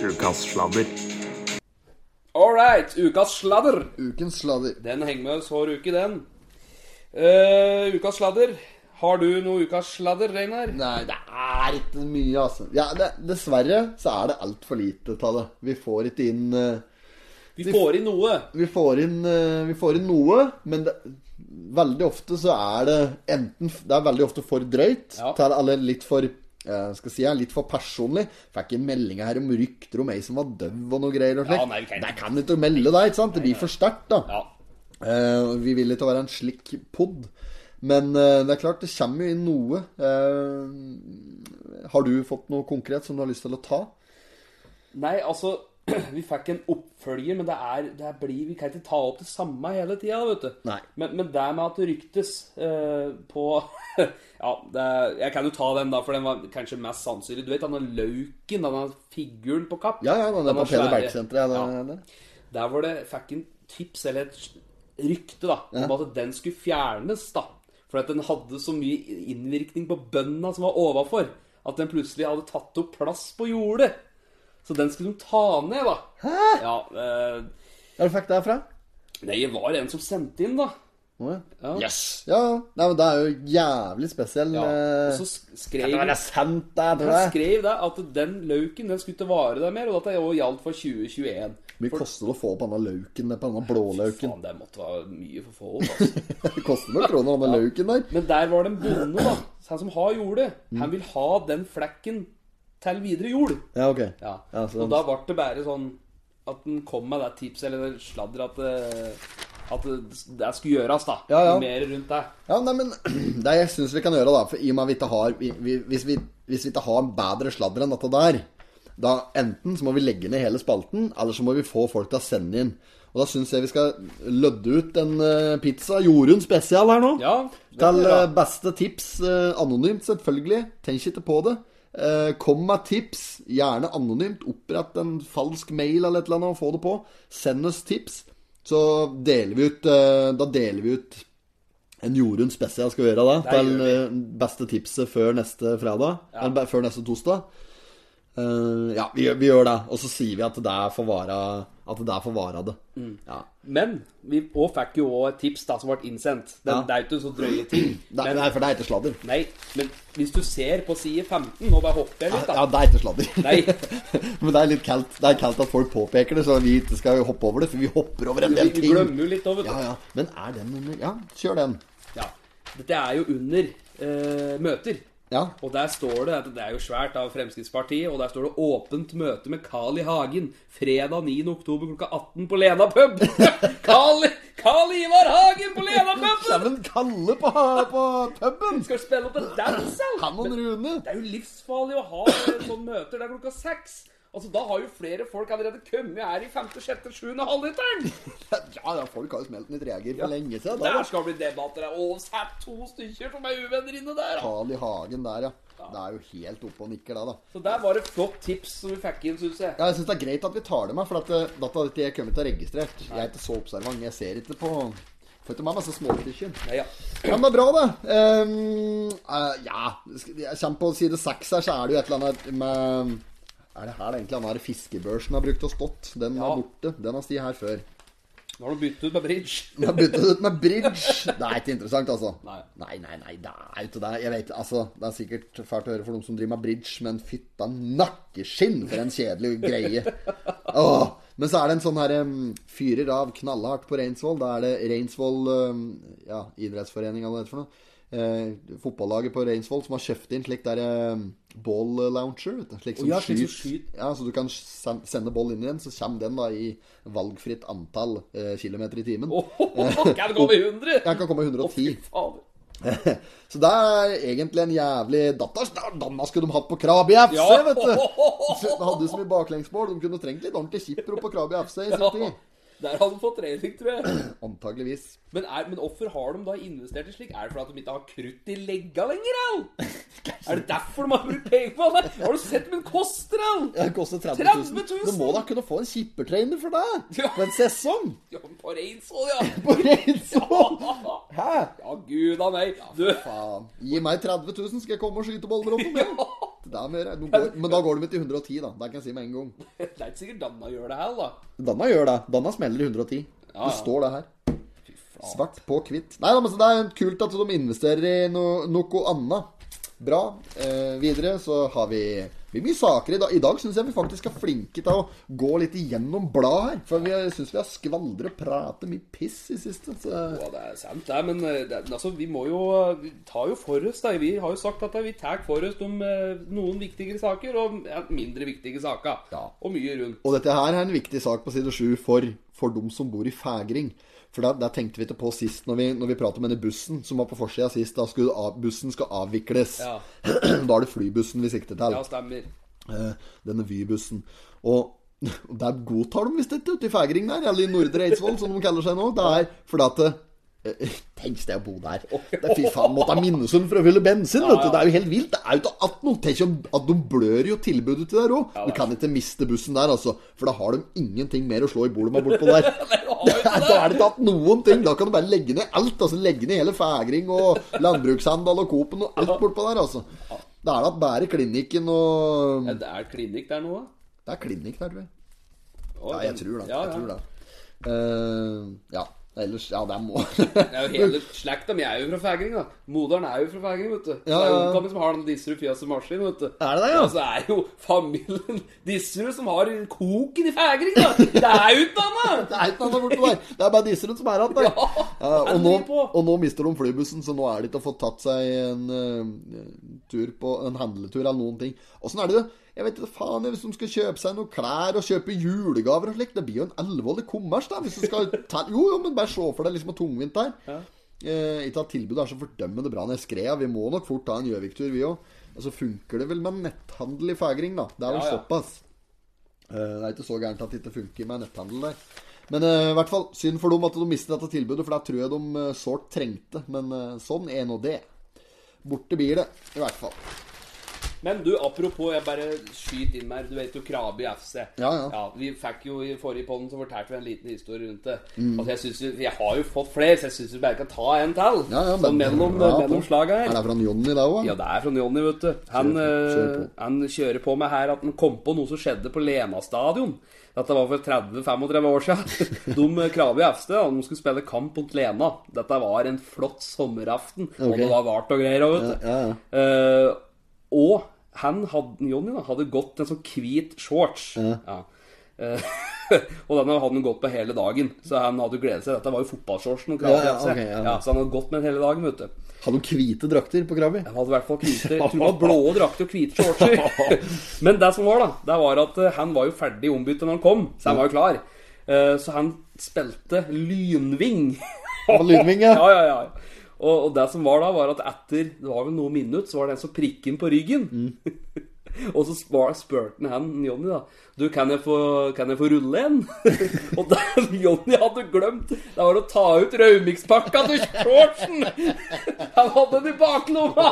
Ukas sladder. All right, ukas sladder. Ukens sladder. Den henger med oss hver uke, den. Eh, ukas sladder. Har du noe ukas sladder, Reinar? Nei, det er ikke mye, altså. Ja, det, dessverre så er det altfor lite av det. Vi får ikke inn eh, Vi får inn noe. vi får inn, eh, vi får inn noe, men det, veldig ofte så er det enten Det er veldig ofte for drøyt, Ja. til, eller litt for eh, skal si her, litt for personlig. Fikk en melding her om rykter om ei som var døv og noe greier. Og Ja, slikt. nei, vi kan ikke. det kan ikke melde deg, ikke sant? Det blir for sterkt, da. Ja. Eh, vi vil ikke være en slik pod. Men eh, det er klart, det kommer jo inn noe. Eh, har du fått noe konkret som du har lyst til å ta? Nei, altså Vi fikk en oppfølger, men det er, det er blir, vi kan ikke ta opp det samme hele tida, vet du. Nei. Men, men det med at det ryktes eh, på Ja, det er, jeg kan jo ta den, da, for den var kanskje mest sannsynlig. Du vet denne Lauken, denne figuren på Kapp? Ja, ja, den er Denne på Peder svære- Berg-senteret. Ja. den Ja. er der. Der var det fikk en tips, eller et rykte, da, om at den skulle fjernes, da. For at den hadde så mye innvirkning på bøndene som var overfor, at den plutselig hadde tatt opp plass på jordet. Så den skulle de ta ned, da. Hæ? Ja, eh, Ja, du fikk det herfra? nei, det var en som sendte inn, da. Å, ja. Ja. Ja, ja. Nei, men det er jo jævlig spesiell Ja, eh, og så sk- skrev Det er sant, det, tror han jeg. skrev da at den lauken den skulle ikke vare der mer, og at det også gjaldt for 2021. Hvor mye koster det å få opp denne lauken der, på denne blålauken? Faen, det måtte være mye for få. Altså. Det koster noen kroner, denne lauken der. Men der var det en bonde, da. Han som har jordet. Han vil ha den flekken til videre jord. Ja, ok. Ja. Ja, så og da ble det bare sånn at han kom med det tipset, eller det sladder, at det, at det det skulle gjøres, da. Ja, ja. Noe Mer rundt det. Ja, nei, men det jeg syns vi kan gjøre, da For i og med at vi ikke har vi, vi, hvis, vi, hvis vi ikke har en bedre sladder enn dette der, da enten så må vi legge ned hele spalten, eller så må vi få folk til å sende inn. Og da syns jeg vi skal lødde ut en eh, pizza Jorunn spesial her nå. Ja. det Til blir eh, bra. beste tips, eh, anonymt selvfølgelig. Tenk ikke på det. Eh, Kom med tips, gjerne anonymt. Opprett en falsk mail eller et eller annet og få det på. Send oss tips, så deler vi ut eh, Da deler vi ut en Jorunn spesial skal vi gjøre da. Til eh, beste tipset før neste fredag. Eller be- før neste torsdag. Eh, ja, vi, gjør- vi gjør det. Og så sier vi at det er for vara At det er for vara det. Ja. Men vi også fikk jo òg et tips da, som ble innsendt. Det, Ja. det er jo ikke så drøye Det, ting. er- Men, det er, for det er ikke sladder. nei, men hvis du ser på side 15 Nå bare hopper jeg litt, da. Ja, det er ikke sladder. Nei. Men det er litt kaldt. Det er kaldt at folk påpeker det, så vi ikke skal hoppe over det. For vi hopper over en Vi del vi ting. glemmer jo litt òg, vet du. Ja, ja. Men er den under Ja, kjør den. Ja. Dette er jo under eh, møter. Ja. Og der står det, det er jo svært av Fremskrittspartiet, og der står det 'Åpent møte med Carl I. Hagen fredag 9. oktober klokka 18 på Lena pub'. Carl, Carl Ivar Hagen på Lena pub! Dæven kalle på, på puben! Skal du spille opp en dancehall? Han og Rune. Det er jo livsfarlig å ha sånne møter der klokka seks. Altså, Da har jo flere folk allerede kommet her i femte, sjette, sjuende halvliteren. Ja, ja, folk har jo smelt litt reager for lenge siden. Der Da, skal det bli debatter. Det er oversatt to stykker som er uvenner inne der. altså. Carl i hagen der, ja. Det er jo helt oppe og nikker, det, da. Så der var det flott tips som vi fikk inn, syns jeg. Ja, jeg syns det er greit at vi tar det med, for at eh, dette har ikke jeg kommet til å registrere. Jeg er ikke så observant. Jeg ser ikke på For at de er masse småbikkjer. Ja, ja. Ja, men det er bra, det. Ehm, eh, ja skal- Jeg kommer på side seks her, så er det jo et eller annet med Er det her det egentlig han har fiskebørsen har brukt og stått? Den Ja. er borte. Den har stått her før. Nå har du byttet ut med bridge. Jeg har byttet ut med bridge. Det er ikke interessant, altså. Nei. nei, nei, nei, det er ikke det. Jeg vet, ikke, altså, det er sikkert fælt å høre for dem som driver med bridge, men fytta nakkeskinn for en kjedelig greie. Åh. Men så er det en sånn her em, fyrer av knallhardt på Reinsvoll. Da er det Reinsvoll em, ja, idrettsforening eller hva det heter for noe. Eh, fotballaget på Reinsvoll som har kjøpt inn slik der um, ball launcher. Vet du. Slik som ja, slik som skyter- skyter. ja, så du kan sen- sende ball inn i den, så kommer den da i valgfritt antall eh, kilometer i timen. Åhåhå, kan det gå med 100? Jeg kan komme i Å, fy 110. fader. Så det er egentlig en jævlig Datters Danna skulle de hatt på Krabi FC, Ja. vet du! Så De hadde så mye baklengsmål. De kunne trengt litt ordentlig kipro på Krabi FC i sin tid. Der har de fått trening, tror jeg. Antageligvis. Men, er, men hvorfor har de da investert i slik? Er det fordi at de ikke har krutt i legga lenger, au? Er det derfor de har brukt penger på det? Har du sett min koster, au? Det koster 30 30 000. Du må da kunne få en kippertrener for det! Ja. På en sesong! Ja, men På Reinsvoll, ja. På Reinsvoll! Ja, Hæ? gud a meg. Du, Faen. Gi meg 30 000, skal jeg komme og skyte boller opp med! Det er mer, nå går, men da går de til 110, da. Det kan jeg si med en gang. det er ikke sikkert Danna gjør det her, da. Danna gjør det. Danna smeller i 110. Ja, ja. Det står det her. Fy faen. altså. Svart på hvitt. Nei da, men så det er kult at de investerer i no, noe annet. Bra. Eh, videre så har vi, vi mye saker i dag. I dag syns jeg vi faktisk er flinke til å gå litt igjennom blad her. For vi syns vi har skvaldret pratet mye piss i siste. Så Ja, det er sant, det. Men eh, det, altså, vi må jo Vi tar jo for oss, da. Vi har jo sagt at eh, vi tar for oss om eh, noen viktigere saker og ja, mindre viktige saker. Ja. Og mye rundt. Og dette her er en viktig sak på side 7 for, for dem som bor i Fægring. For der, der tenkte vi ikke på sist, når vi, når vi pratet om denne bussen som var på forsida sist. Da skulle av, bussen skal avvikles. Ja. Da er det flybussen vi sikter til. Ja, stemmer. eh, denne Vy-bussen. Og og der godtar de visst ikke ute i Fægring der, eller i Nordre Eidsvoll, som de kaller seg nå. Det er fordi at eh, Tenk deg å bo der. Det er Fy faen, måtte ha Minnesund for å fylle bensin, vet du. Det er jo helt vilt. Det er jo ikke at noe. Tenk om at de blør jo tilbudet til der òg. Du kan ikke miste bussen der, altså. For da har de ingenting mer å slå i bordet med bortpå der. Da er det ikke hatt noen ting. Da kan du bare legge ned alt. Altså Legge ned hele Fægring og landbrukshandel og Coop-en og alt bortpå der, altså. Da er det at bare klinikken og Ja, det er klinikk der nå, da? det er klinikk der, tror jeg. Å, Ja, jeg den- tror det. Ja, Jeg tror ja. det. Eh, ja. Ellers Ja, det er må Det er jo hele slekta mi er jo fra Fægring, da. Moderen er jo fra Fægring, vet du. Så Ja, det er ja. onkelen min som har den Disserud Fjas og Maskin, vet du. Er det det, ja? så er jo familien Disserud som har koken i Fægring, da. Det er jo ikke annet! Det er ikke noe annet borte der. Det er bare Disserud som er igjen der. Ja, Ja, er og, det nå, mye på? og nå mister de flybussen, så nå er det ikke å få tatt seg en eh, tur på En handletur eller noen ting. Åssen er det? Jeg vet ikke faen jeg, hvis de skal kjøpe seg noen klær og kjøpe julegaver og slikt. Det blir jo en alvorlig kommers, da. Hvis du skal ta, jo, jo, men bare se for deg liksom tungvint der. Eh, ikke at tilbudet er så fordømmende bra nede i skrea. Vi må nok fort ta en Gjøvik-tur, vi òg. Og så funker det vel med netthandel i Fægring, da. Det er vel Ja, ja. såpass. Eh, Det er ikke så gærent at det ikke funker med netthandel der. Men eh, i hvert fall, synd for dem at de mistet dette tilbudet, for det tror jeg de eh, sårt trengte. Men eh, sånn er nå det. Borte blir det, i hvert fall. Men du, apropos, jeg bare skyter inn her. Du vet jo Krabi FC. Ja, ja. Vi fikk jo i forrige podden så fortalte vi en liten historie rundt det. Mm. Altså, jeg synes vi, Jeg har jo fått flere, så jeg syns vi bare kan ta en til. Ja, ja, sånn mellom, Ja, mellom på. slaga her. Er det fra Jonny da òg? Ja, det er fra Jonny, vet du. Han, Kjør på, kjør eh, han kjører på med her at han kom på noe som skjedde på Lena stadion. Dette var for 30-35 år siden. De eh, Krabi FC da, de skulle spille kamp mot Lena. Dette var en flott sommeraften. Og Ok. det var vart og greier. Vet du. Ja, ja. Eh, og han hadde, Jonny da, hadde gått en sånn hvit shorts. Ja. Eh, og den hadde han gått på hele dagen, så han hadde jo gledet seg. Dette var jo fotballshortsen. og Ja, Krabi ja, FC. ok, ja. Ja, så han hadde gått med den hele dagen. vet du Hadde de hvite drakter på Krabi? han hadde i hvert fall hvite, jeg tror det var blå drakter og hvite shortser. Men det som var, da, det var at eh, han var jo ferdig ombyttet når han kom, så han var jo klar. Eh, Så han spilte lynving. Det var Lynving, ja. Ja, ja, ja. Og, og det som var da, var at etter det var vel noen minutter, så var det en som prikket ham på ryggen. Mm. Og så spar- spurte han han, Jonny da Du, kan jeg få, kan jeg få rulle en? og da Jonny hadde glemt Det var å ta ut Raumikspakka til shortsen! Han hadde den i baklomma!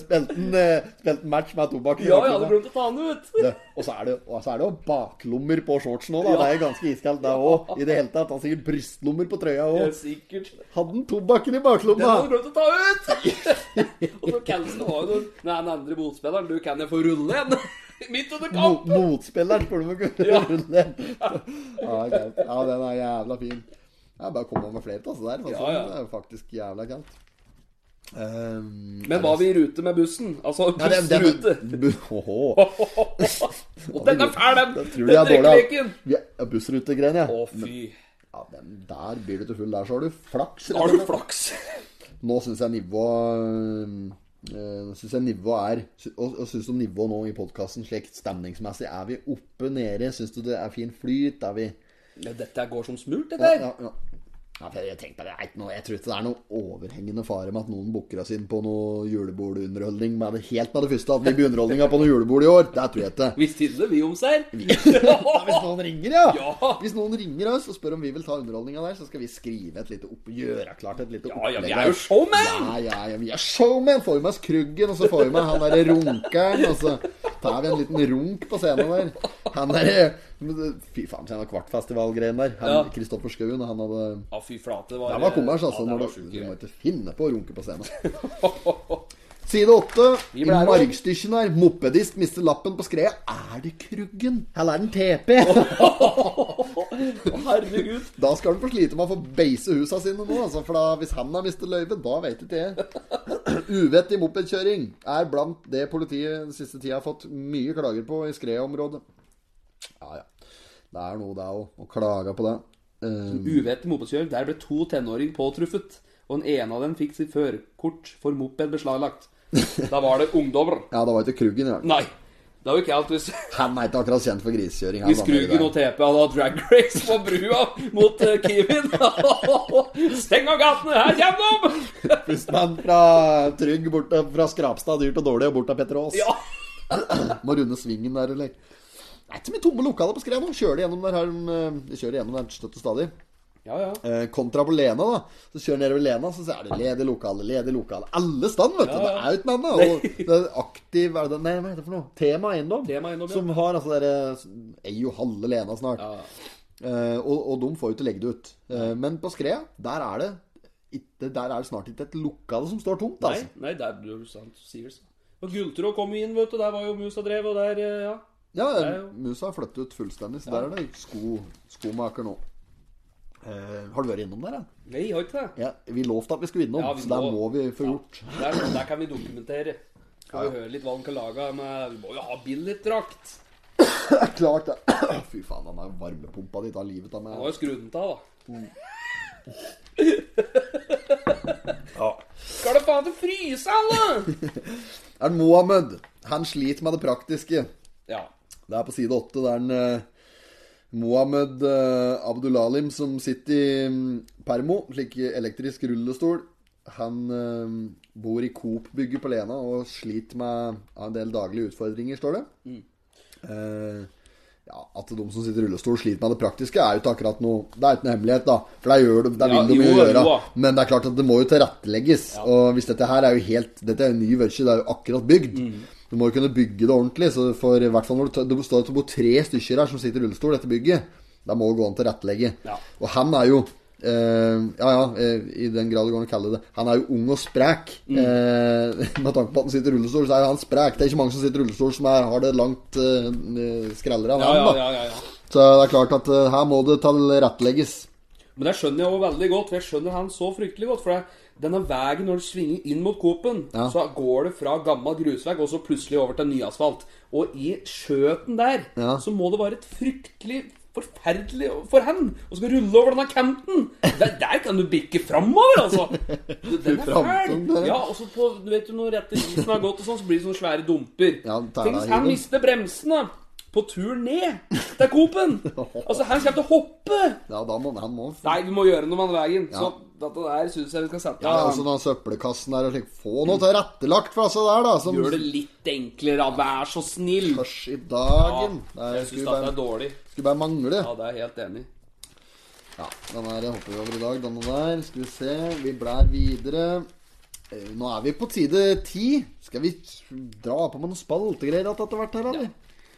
Spilte en, eh, spilte en match med tobakk. i Ja, jeg hadde bakgrunnen. glemt å ta den ut! Det- Og så er det og så er det jo baklommer på shortsen òg, da. Det er ganske iskaldt, det òg. I det hele tatt. Han har sikkert brystlommer på trøya Ja, òg. sikkert. Hadde han tobakken i Den hadde baklomma? du glemt å ta ut! og så Kelsen har jo noen Nei, den andre motspilleren, du kan jeg få rulle en! Midt under Mo- kamp! Motspilleren, spør du om å kunne rulle den. Ja, greit. ja, den er jævla fin. Jeg bare kom med flere av der. Altså, Ja, ja. Det er jo faktisk jævla kaldt. Um, Men var vi i rute med bussen? Altså Nei, den, den, bussrute. bu- Åhå. Og den er fæl, den! Den tror jeg er dårlig. drikkeleken. ja. Vi- ja, Bussrutegreiene, ja. Å, fy. ja. Den der blir du til full. Der så har du flaks. rett og Har slett. du flaks? Nå syns jeg nivået øh, Nå synes jeg nivået er Og, og syns du om nivået nå i podkasten slik stemningsmessig? Er vi oppe, nede? Syns du det er fin flyt? Er vi Ja, dette går som smurt, det Ja, der. ja, ja. Ja, for jeg tenkte, det er ikke noe, jeg tror ikke det er noe overhengende fare med at noen booker oss inn på noe julebordunderholdning med det helt med det første. At vi blir underholdninga på noe julebord i år. Det tror jeg ikke. Hvis tidene vi om seg Hvis noen ringer, ja. Ja. Hvis noen ringer oss og spør om vi vil ta underholdninga der, så skal vi skrive et lite opp... Gjøre klart et lite Ja, ja, vi opplegg er jo der. showmen! Ja, ja, ja, vi er showman. Får vi med oss Kruggen, og så får vi med han derre runkeren, og så tar vi en liten runk på scenen der. Han derre Fy faen, se den kvartfestivalgreien der. Ja. Han Kristoffer Skauen, han hadde Ja, fy flate. Det var, Det var kommers, altså. Ja, det når var du, sjukt du gøy. må ikke finne på å runke på scenen. Side åtte. I ble her også. margstykken her. Mopedist mister lappen på skredet. Er det Kruggen? Eller er den TP? Å, Herregud. Da skal han få slite med å få beise husa sine nå, altså, for da, hvis han har mistet løyvet, da vet ikke jeg. Uvettig mopedkjøring er blant det politiet den siste tida har fått mye klager på i skredområdet. Ja, ja. Det er noe, det òg, å klage på det. Eh, Uvettig mopedkjøring. Der ble to tenåringer påtruffet. Og den ene av dem fikk sitt førerkort for moped beslaglagt. Da var det ungdommer. ja, det var ikke Kruggen, ja. Nei. Det er jo ikke alt hvis, Han er ikke akkurat kjent for grisekjøring. han, hvis da, nede Krugen der. og TP hadde hatt drag race på brua mot eh, Kiwin. Steng av gatene! Her kommer de! Bussmann fra Trygg, bort, fra Skrapstad, dyrt og dårlig, og bort til Petter Aas. Ja. Må runde svingen der, eller? Det er ikke så mye tomme lokaler på skred nå. Kjører de gjennom der her, eh, de kjører gjennom der støtt og stadig. Ja, ja. Eh, Kontra på Lena, da. Så kjører nedover Lena, så er det ledig lokale, ledig lokale. Alle stand, vet du. Ja, ja. Det er jo ikke noe annet. Og det er aktiv er det, Nei, hva heter det for noe? Tema eiendom. Tema Eiendom, ja. Som har altså dere Eier jo halve Lena snart. Ja. Eh, og, og de får jo ikke legge det ut. Eh, men på Skrea, der er det ikke, der er det snart ikke et lokale som står tomt. Nei, Altså. nei, der ble det sant. Sier det sånn. Og Gultrå kom jo inn, vet du. Der var jo musa drev, og der eh, Ja. Ja, Det er jo- musa har flyttet ut fullstendig, så der er det sko, skomaker nå. Eh, har du vært innom der, ja? Nei, har ikke det. ja? Vi lovte at vi skulle innom, Ja, vi så der må- må vi få gjort. Der, der kan vi dokumentere. Skal vi høre litt hva han kan lage med Vi må jo ha billigdrakt. Klart det. Fy faen, han er varmepumpa di tar livet av Han meg. har jo skrudd den av, da. Mm. Skal det faen til fryse, alle?! Er det Mohammed? Han sliter med det praktiske. Ja. Det er på side åtte. Det er en eh, Mohammed eh, Abdulalim som sitter i mm, permo, slik elektrisk rullestol. Han eh, bor i Coop-bygget på Lena og sliter med en del daglige utfordringer, står det. Mm. Eh, ja, At de som sitter i rullestol sliter med det praktiske, er jo ikke akkurat noe Det er ikke noe hemmelighet, da. For det gjør de, det Ja, vil de jo jo, gjøre. jo da. Men det er klart at det må jo tilrettelegges. Og hvis dette her er jo helt Dette er jo ny vørse, det er jo akkurat bygd. Mm. Du må jo kunne bygge det ordentlig. Så for i hvert fall når du tar- Det står at det bor tre stykker her som sitter i rullestol i dette bygget. Da må det gå an å tilrettelegge. Ja. Og han er jo eh, ja, ja, eh, i den grad det går an å kalle det Han er jo ung og sprek. Mm. Eh, med tanke på at han sitter i rullestol, så er jo han sprek. Det er ikke mange som sitter i rullestol som er, har det langt eh, skrellere enn Ja, han. ja, da. ja, ja, ja. Så det er klart at eh, her må det tilrettelegges. Men det skjønner jeg jo veldig godt, for jeg skjønner han så fryktelig godt. For det, denne veien når du svinger inn mot Coop-en, Ja. så går det fra gammel grusvei og så plutselig over til nyasfalt. Og i skjøten der Ja. så må det være et fryktelig forferdelig for han å skal rulle over denne kanten. Der, der kan du bikke framover, altså! Den er Framtung, fæl. det. Ja, og så på du vet jo når rette isen har gått, og sånn, så blir det sånne svære dumper. Ja, den tar Tenk deg hvis i han den. mister bremsene på tur ned til Coop-en! Altså, han kommer til å hoppe! Ja, da må han må Nei, vi må gjøre noe med den veien. Så dette der syns jeg vi skal sette Ja, altså den søppelkassen der og slik. Få noe tilrettelagt for altså der, da. Som Gjør det litt enklere, da. Vær så snill. Hørs i dagen. det Ja, jeg er- syns skulle, dette er bare, dårlig. skulle bare mangle. Ja, det er jeg helt enig. i. Ja, den her hopper vi over i dag, denne der. Skal vi se. Vi blær videre. Eh, Nå er vi på side ti. Skal vi dra på med noen spaltegreier at etter hvert her, eller?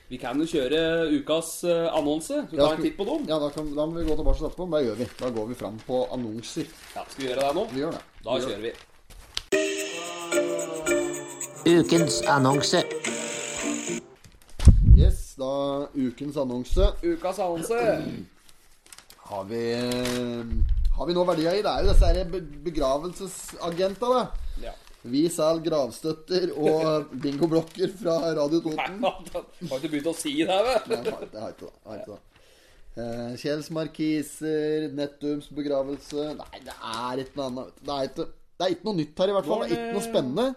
Vi kan jo kjøre ukas eh, annonse. Skal vi ta skal en vi- titt på dem? Ja, da, kan, da må vi gå tilbake til etterpå. men Da gjør vi. Da går vi fram på annonser. Ja, skal vi gjøre det nå? Vi gjør det. Da vi gjør. kjører vi. Ukens annonse. Yes, da ukens annonse. Ukas annonse. Mm. Har vi eh, Har vi nå verdier i? Det er jo disse her be- begravelsesagenta, da. Ja. Vi selger gravstøtter og bingoblokker fra Radio Nei, Toten. man Har ikke begynt å si det, vet Nei, du. faen, det har ikke det. det Har ikke det. Eh, Kjells markiser, Nettums begravelse Nei, det er ikke noe annet. vet du. Det er ikke, det er ikke noe nytt her, i hvert fall. Det er ikke noe spennende.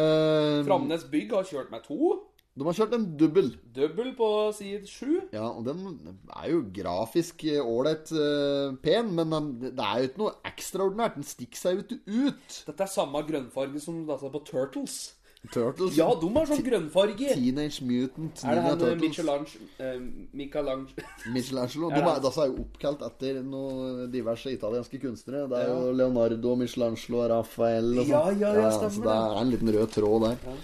Eh, Framnes Bygg har kjørt med to. de har kjørt en dubbel. Double på side sju. Ja, og den er jo grafisk eh, ålreit eh, pen, men den, det er jo ikke noe ekstraordinært. Den stikker seg jo ikke ut. Dette er samme grønnfarge som dette på Turtles. Turtles. Ja, de har sånn grønnfarge. Teenage Mutant Er Ninja det han eh, Turtles. Michelange eh, Michelange Michelangelo. De Er det er, han? disse er jo oppkalt etter noen diverse italienske kunstnere. Det er Ja. jo Leonardo, Michelangelo, Raphael og sånn. Ja, ja, ja, så stemmer det det. er en liten rød tråd der.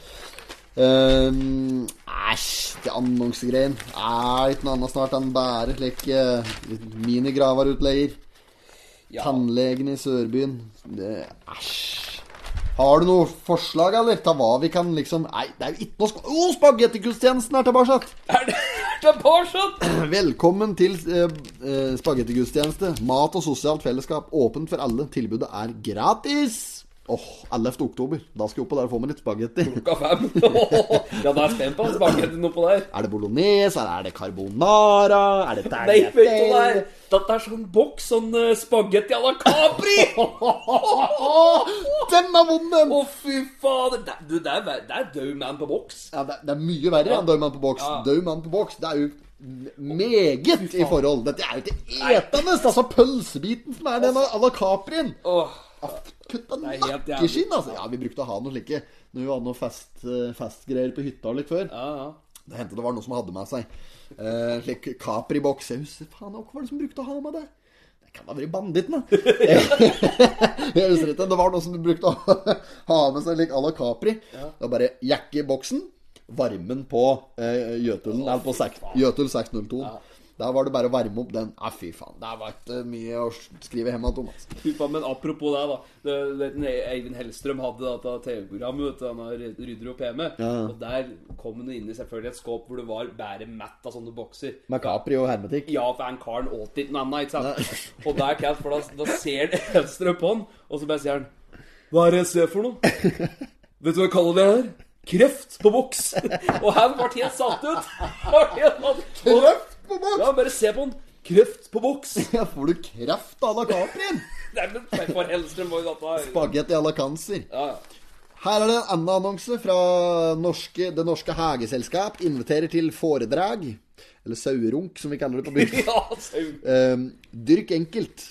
Ehm, Æsj, det annonsegreien. Er ikke noe annet snart enn bare eh, slike minigravarutleier. Ja. Tannlegen i Sørbyen. Det Æsj. Har du noe forslag, eller? Ta hva vi kan liksom Nei, det er jo ikke noe sk... Å, spagettigudstjenesten er tilbake! Er det Tabarsan? Velkommen til eh, eh, spagettigudstjeneste. Mat og sosialt fellesskap åpent for alle. Tilbudet er gratis! Åh, 11. oktober. Da skal jeg opp og der og få meg litt spagetti. Klokka fem. ja, da er jeg spent på spagettien oppå der. Er det bolognese? eller Er det carbonara? Er det Nei, vet du hva det er? tagliatelle? Dette er sånn boks, sånn eh, spagetti à la Capri! Å, Den er vond, den! fy fader! Det, du, det er, ver- det er død man på boks. Ja, det, det er mye verre enn Død mann på boks. Ja. Død mann på boks, det er jo meget i forhold. Dette er jo ikke etende! Det er altså pølsebiten som er den à la Caprien. Åh, Kutta er helt jævlig. nakkeskinn, altså! Ja, vi brukte å ha noe slike når vi hadde noe fest, eh, festgreier på hytta litt før. ja, ja. Det hendte det var noen som hadde med seg eh, slik Capri-boks. Jeg husker faen hva var det som brukte å ha med det? Det kan ha vært banditten, da. jeg husker ikke. Det var noen som brukte å ha med seg lik à la Capri. Det var bare jakke i boksen, varmen på eh, Jøtulen, eller på sek, Jøtul 602. Der var det bare å varme opp den. Nei, fy faen. Det var ikke mye å skrive hjemme om, altså. Fy faen, men apropos det, da. Det, det, den E- Eivind Hellstrøm hadde dette TV-programmet. vet du, Han har rydder opp hjemme. Ja. Og der kom han inn i selvfølgelig et skåp hvor det var bare mett av sånne bokser. Med Capri og hermetikk. Ja, for han karen åt ikke noe annet, ikke sant? Og der kan jeg, for da, da ser det Hellstrøm på han, og så bare sier han Hva er det jeg ser for noe? Vet du hva jeg kaller det her? Kreft på boks! Og han ble helt satt ut. Kreft Kreft på boks? Ja, bare se på han. Kreft på boks! Ja, får du kreft à la Caprien? Nei, men for Hellstrøm var jo dette her. Spagetti à la cancer. Ja, ja. Her er det en annen annonse fra norske, Det Norske Hageselskap. Inviterer til foredrag. Eller sauerunk, som vi kaller det på bygda. ja så, Ehm, dyrk enkelt.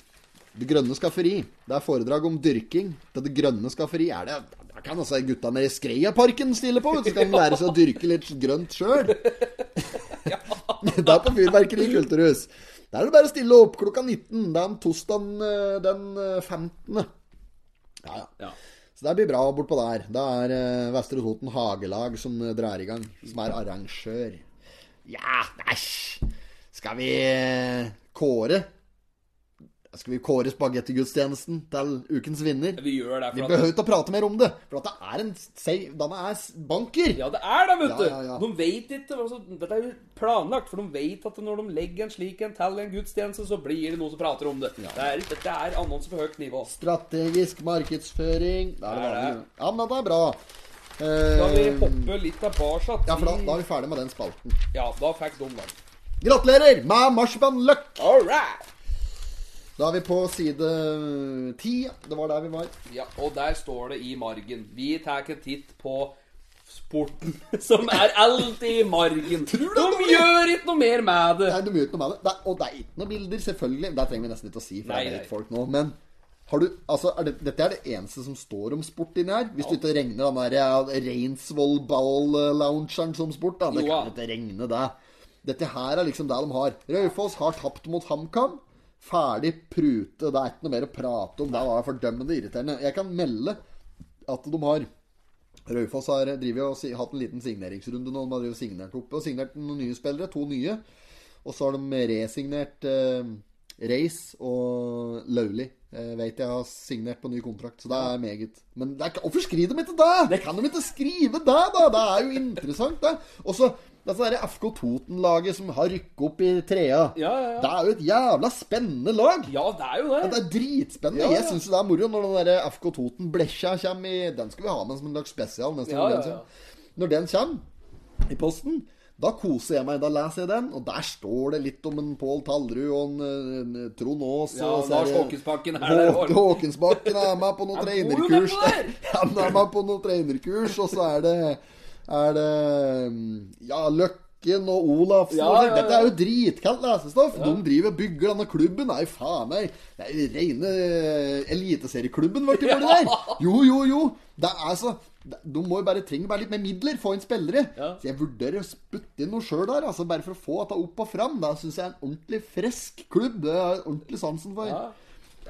Det grønne skafferi. Det er foredrag om dyrking til det grønne skafferi. Er det, da kan altså gutta nede i Skreiaparken stille på, vet du, så kan de lære seg å dyrke litt grønt sjøl. Det er på Fyrverkeri kulturhus. Der er det bare å stille opp klokka 19. Det er en tosdag eh, den eh, 15. Ja, ja. ja. Så det blir bra bortpå der. Det er eh, Vestre Toten Hagelag som eh, drar i gang, som er arrangør. Ja, æsj! Skal vi eh, kåre Skal vi kåre spagettigudstjenesten til ukens vinner? Vi gjør det. Vi for at... behøver ikke å prate mer om det, for at det er en sei- Denne er s- banker! Ja, det er det, vet Ja, du! ja, ja. De vet ikke altså, Dette er jo planlagt, for de vet at når de legger en slik en til en gudstjeneste, så blir det noen som prater om det. det er, dette er annonser på høyt nivå. Strategisk markedsføring Det er det Det er vanlige. det. Ja, men dette er bra. Skal vi Eh, hoppe litt tilbake Ja, for da, da er vi ferdig med den spalten. Ja, da fikk de den. Gratulerer med marsipanløk! All right! Da er vi på side øh, ti. Det var der vi var. Ja, og der står det i margen. Vi tar en titt på sporten, som er alltid i margen. De gjør ikke noe mer med det. Nei, du må gjøre noe med det. det. er- Og det er ikke noen bilder, selvfølgelig. Det trenger vi nesten ikke å si, for Nei, det nei. vet folk nå. Men har du, altså, er det, dette er det eneste som står om sport inni her. Hvis du ikke regner den der ja, Reinsvoll Ball-loungeren som sport, da. Det Jo, kan ja. ikke regne det. Dette her er liksom det de har. Raufoss har tapt mot HamKam. Ferdig prute. Det er ikke noe mer å prate om. Det var fordømmende irriterende. Jeg kan melde at de har Raufoss har eh, driver jo og si- hatt en liten signeringsrunde nå. De har drivet og signert opp og signert noen nye spillere. To nye. Og så har de resignert eh, Reis og Lauli. Eh, vet jeg har signert på ny kontrakt, så det er meget. Men det er ikke, hvorfor skriver de ikke det?! Det kan de ikke skrive det, da?! Det er jo interessant, det. Og så dette der FK Toten-laget som har rykket opp i trea. Ja, ja, ja. Det er jo et jævla spennende lag! Ja, det er jo Ja, det. det er dritspennende. Ja, ja. Jeg syns det er moro når den der FK Toten-blekja kommer i Den skal vi ha med som en dags spesial. Neste Ja, gang ja, den ja. kommer. Når den kommer i posten, da koser jeg meg. Da leser jeg den, og der står det litt om en Pål Tallrud og en, eh, en Trond Aas. Ja, og så er Lars det- Håkensbakken er der. Håke Håkensbakken er med på noen Han bor jo trenerkurs. nedpå Han er med på noen trenerkurs, og så er det, er det mm, Ja, Løkken og Olafsen. Ja, og så- ja, ja. Dette er jo dritkaldt lesestoff. De driver og bygger denne klubben. Nei, faen meg. Det er jo rene eh, eliteserieklubben vårt i det der. Jo, jo, jo. Det er så De må jo bare trenger bare litt mer midler. Få inn spillere. Ja. Så jeg vurderer å spytte inn noe sjøl der, altså bare for å få dette opp og fram. Det syns jeg er en ordentlig frisk klubb. Det har jeg ordentlig sansen for. Ja.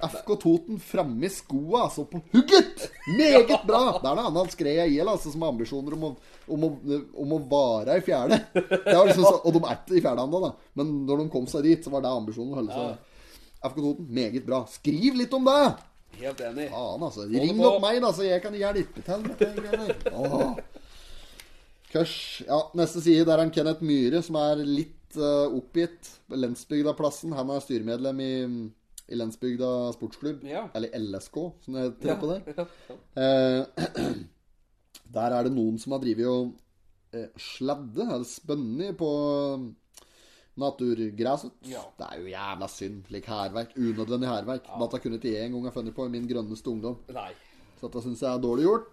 FK Toten framme i skoa, altså på hugget! Meget bra! Det er noe annet skred jeg gjelder, altså, som har ambisjoner om å, om å, om å vare i fjerde. Det var liksom så, og de er ikke i fjerde ennå, da. Men når de kom seg dit, så var det ambisjonen å holde seg der. FK Toten, meget bra. Skriv litt om det! Helt enig. Faen, altså. det Ring på. opp meg, da, så jeg kan hjelpe til med de greiene der. Åh. Kørs. Ja, neste side der er en Kenneth Myhre, som er litt eh, oppgitt. Lensbygda-plassen. Han er styremedlem i, i Lensbygda sportsklubb. Ja. Eller LSK, som det heter på det. Ja. Eh, der er det noen som har drevet og eh, sladde, eller spønnet, på mm, naturgresset. Ja. Det er jo jævla synd. Slik hærverk. Unødvendig hærverk. Dette kunne ikke jeg engang ha funnet på i min grønneste ungdom. Nei. Så dette syns jeg er dårlig gjort.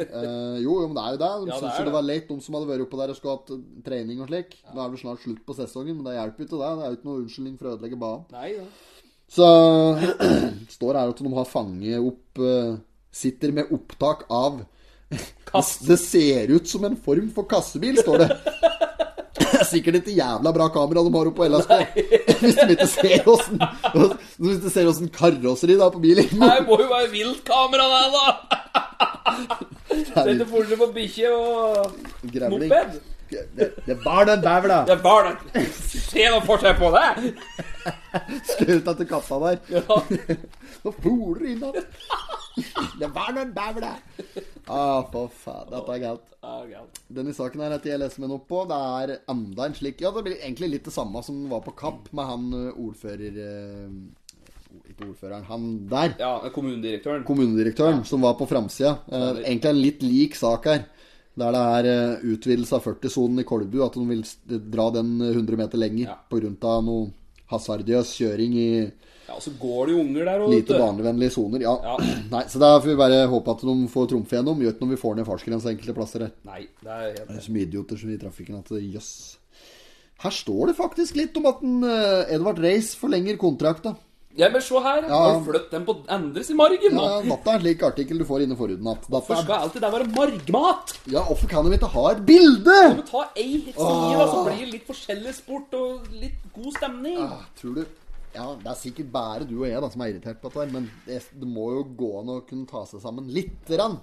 Eh, jo, jo, men det er jo det. De Ja, det syns er jo det det. var leit, de som hadde vært oppe der og skulle hatt eh, trening og slik. Nå er det vel snart slutt på sesongen, men det hjelper ikke det. Det er jo ikke noe unnskyldning for å ødelegge banen. Nei da. Så står her at de har fanget opp eh, Sitter med opptak av Kast. Det ser ut som en form for kassebil, står det. Det er sikkert et jævla bra kamera de har oppe på LSK. Hvis de ikke ser åssen Hvis de ser åssen karosseri det er på bilen. Det må jo være viltkamera, det, da! Sette fortere på bikkje og Grevling. moped. Det, det var den bævla! Det var det. Se noe forskjell på det! Skjøt etter kassa der. Ja. Nå foler det inn der. Det var den bævla! Ah, for faen. Dette er galt. Ja, galt. Denne saken her heter jeg leser meg noe på. Det er enda en slik Ja, det blir egentlig litt det samme som var på Kapp med han ø, ordfører ø, Ikke ordføreren, han der. Ja, kommunedirektøren. Kommunedirektøren som var på framsida. Eh, Stemmer. Egentlig en litt lik sak her. Der det er eh, utvidelse av 40-sonen i Kolbu. At de vil s- dra den 100 meter lenger Ja. pga. noe hasardiøs kjøring i Ja, og så går det jo unger der òg, lite barnevennlige soner. Ja. Ja. Nei, så da får vi bare håpe at de får trumfe gjennom. Gjør ikke noe om vi får ned fartsgrensa enkelte plasser her. Nei, det er helt Det er så mye idioter som i trafikken at det- jøss. Her står det faktisk litt om at en, eh, Edvard Reis forlenger kontrakta. Ja, men se her. Har du flyttet den på endres i margen nå? Ja, dette er en slik artikkel du får inne forhuden at dette Hvorfor er, skal alltid det være margmat? Ja, hvorfor kan de ikke ha et bilde?! Men ta ei side, da, så blir det litt forskjellig sport og litt god stemning. Ah, Tror du Ja, det er sikkert bare du og jeg da som er irritert på dette, her, men det, det må jo gå an å kunne ta seg sammen lite grann.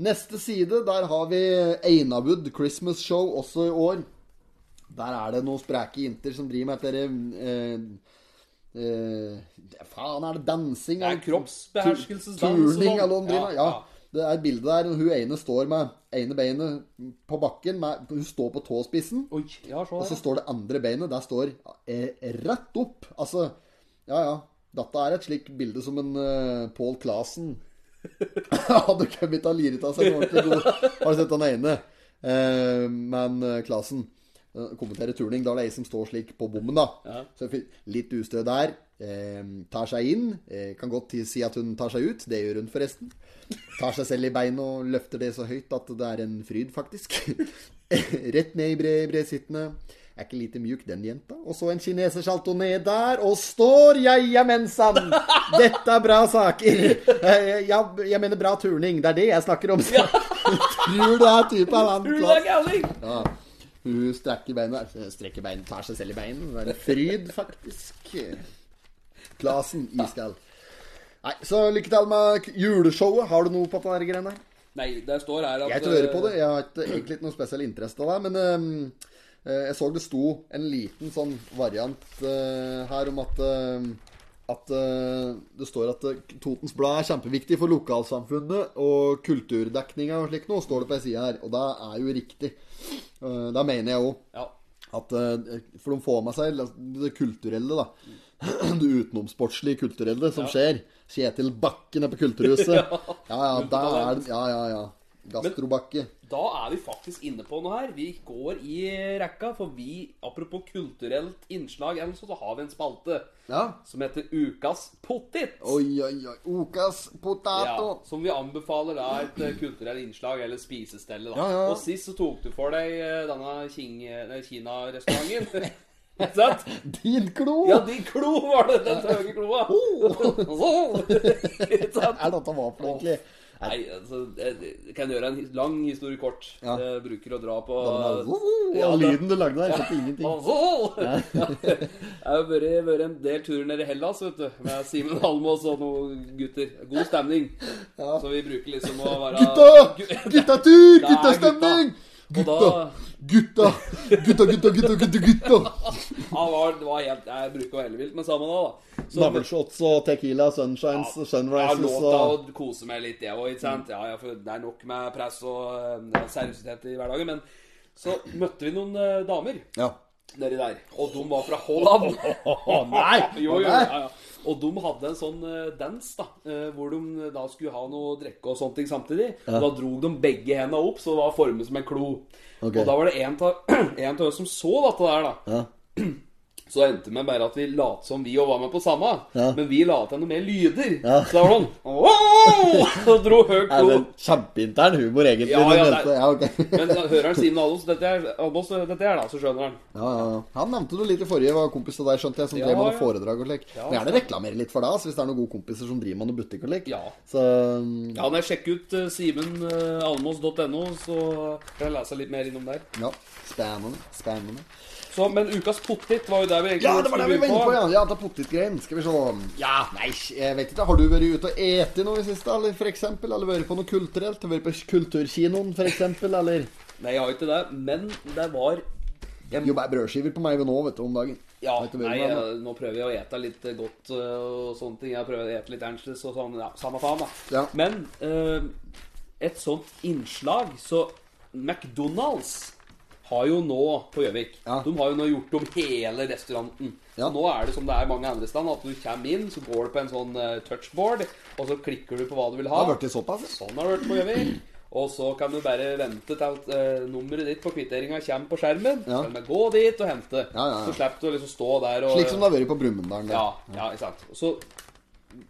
Neste side, der har vi Einawood Christmas Show også i år. Der er det noen spreke jenter som driver med dette eh, Eh, det- faen, er det dansing? Det er eller- kroppsbeherskelsesdans og Turning sånn. eller noe driver med. Ja, Ja, ja. Det er et bilde der og hun ene står med ene beinet på bakken. Med, hun står på tåspissen, Oi, ja, se og så her. står det andre beinet. Der står eh, rett opp. Altså Ja, ja. Dette er et slikt bilde som en uh, Pål Clasen hadde kommet og liret av seg en ordentlig god. Har du sett han ene? Eh, men eh, Klasen eh, kommenterer turning. Da er det ei som står slik på bommen, da. Så fi- litt ustø der. Eh, tar seg inn. Eh, kan godt ti- si at hun tar seg ut. Det gjør hun, forresten. Tar seg selv i beinet og løfter det så høyt at det er en fryd, faktisk. Rett ned i bre, bredsittende. Er ikke lite mjuk, den jenta. Og så en kinesersalto ned der, og står jeg, jamensan! Dette er bra saker. Eh, Ja, jeg mener bra turning. Det er det jeg snakker om. Tror du det er typen han Tror du det Klas? er gærlig? Ja. Hun strekker beina Strekker beina, tar seg selv i beina. Det er en fryd, faktisk. Klasen iskald. Nei, så lykke til med k- juleshowet. Har du noe på denne greiene? her? Nei, det står her at Jeg hører på det. Jeg har ikke, egentlig ikke noe spesiell interesse av det. Men ehm, eh, jeg så det sto en liten sånn variant eh, her om at ehm, at eh, det står at eh, Totens Blad er kjempeviktig for lokalsamfunnet og kulturdekninga og slikt noe, står det på ei side her. Og det er jo riktig. Uh, det mener jeg òg. Ja. At, eh, for de får med seg det kulturelle, da. Det utenomsportslige kulturelle som skjer. Kjetil Bakken er på Kulturhuset. ja, ja, der er den. Ja, ja, ja. Gastrobakke. Da er vi faktisk inne på noe her. Vi går i rekka, for vi, apropos kulturelt innslag, eller så, så har vi en spalte Ja. som heter Ukas pottit. Oi, oi, oi. Okas potato. Ja, som vi anbefaler da et eh, kulturelt innslag eller spisestelle. da Ja, ja, ja. Og sist så tok du for deg eh, denne King- eh, Kina-restauranten. Ikke sant? Din klo! Ja, din klo var det! Den høye kloa. Ikke sant? Er dette hva for noe, egentlig? Nei, altså, jeg jeg kan gjøre en his- lang historie kort. Ja. Jeg bruker å dra på Ja, Ja, det- lyden du lagde der, skjønte ingenting. Åh! Jeg har vært, vært en del turer nede i Hellas vet du, med Simen Halmås og noen gutter. God stemning. Så vi bruker liksom å være Gutta! Guttatur! Da er Guttastemning! gutta. Og Gutta! Gutta, gutta, gutta, gutta, gutta! gutta. Ja, det var, det var helt, jeg bruker å ellevilt, men samme da. da. Så- Navleshots og tequila, sunshines, Jeg har lov sunrises til og å kose meg litt, jeg òg. Ja, ja, for det er nok med press og eh, seriøsitet i hverdagen. Men så møtte vi noen eh, damer Ja. nedi der, og de var fra Holland. nei! jo, jo, Nei. ja, ja. Og de hadde en sånn eh, dans, da, eh, hvor de da skulle ha noe å drikke og sånne ting samtidig. Og da dro de begge hendene opp, så det var formet som en klo. Ok. Og da var det en av en av oss som så dette der, da. Ja. Så det endte med bare at vi lot som vi òg var med på samme, Ja. men vi la til noe mer lyder. Ja. Så det var sånn «Åh!» Og dro høy Er det klo. kjempeintern humor, egentlig? Ja, den ja, neste? det er- ja, ok. Men da hører han Simen Allos dette, er- Almås, dette er da, så skjønner han. ja, ja, ja. Han nevnte du litt i forrige, var kompis av deg, skjønte jeg, som Ja, drev med noe ja. foredrag og slik. Må gjerne reklamere litt for deg, altså, hvis det er noen gode kompiser som driver med noe butikk og slik. Ja. Så mm, Ja, Når jeg sjekker ut uh, simenalmås.no, så kan jeg lese litt mer innom der. ja. Spennende. Spennende. Så, men ukas pottit var jo der vi egentlig Ja, det var det vi skulle var inne på, begynne ja. Ja, det er potetgreien. Skal vi se. Ja, nei, jeg vet ikke. Har du vært ute og ete noe i det siste, eller for eksempel? Eller vært på noe kulturelt? Vært på kulturkinoen, for eksempel, eller? Nei, jeg har ikke det, men det var Jo, bare brødskiver på meg ved nå, vet du, om dagen. Ja, Vet du hva nei, det var, eh, nå prøver jeg å ete litt eh, godt eh, og sånne ting. Jeg prøver å ete litt annerledes og sånn. Ja, samme faen, da. Ja. Men eh, et sånt innslag Så McDonald's har jo nå på Gjøvik Ja. De har jo nå gjort om hele restauranten. Ja. Så nå er det som det er mange andre steder, at du kommer inn, så går du på en sånn eh, touchboard, og så klikker du på hva du vil ha. Det har vært såpass, ja. Sånn har det vært på Gjøvik. Og så kan du bare vente til at eh, nummeret ditt på kvitteringa kommer på skjermen. Så Ja. kan du gå dit og hente. Ja, ja, ja. Så slipper du å liksom stå der og Slik som det har vært på Brumunddal. der. Ja, ja, ikke sant. Og Så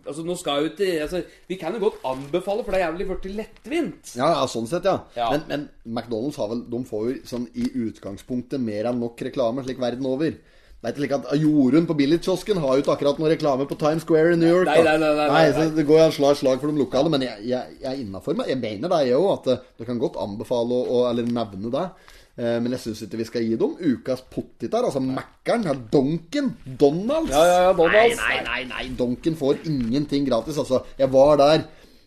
Altså, nå skal jo ikke altså, Vi kan jo godt anbefale, for det er jævlig blitt lettvint. Ja, ja, sånn sett, ja. Ja. Men, men McDonald's har vel, de får jo sånn i utgangspunktet mer enn nok reklame slik verden over. Det er ikke slik at Jorunn på Billigkiosken har jo ikke akkurat noe reklame på Times Square i New York. Nei, da. nei, nei, nei, nei, så Det går jo en slag slag for de lokale, men jeg, jeg, jeg er innafor meg. Jeg mener det, jeg òg, at eh, du kan godt anbefale å, å eller nevne det. Eh, Men jeg syns ikke vi skal gi dem ukas pottit der. Altså Mækkern, her Donken, Donalds. Ja, ja, ja, Donalds. Nei, nei, nei, nei, Donken får ingenting gratis, altså. Jeg var der.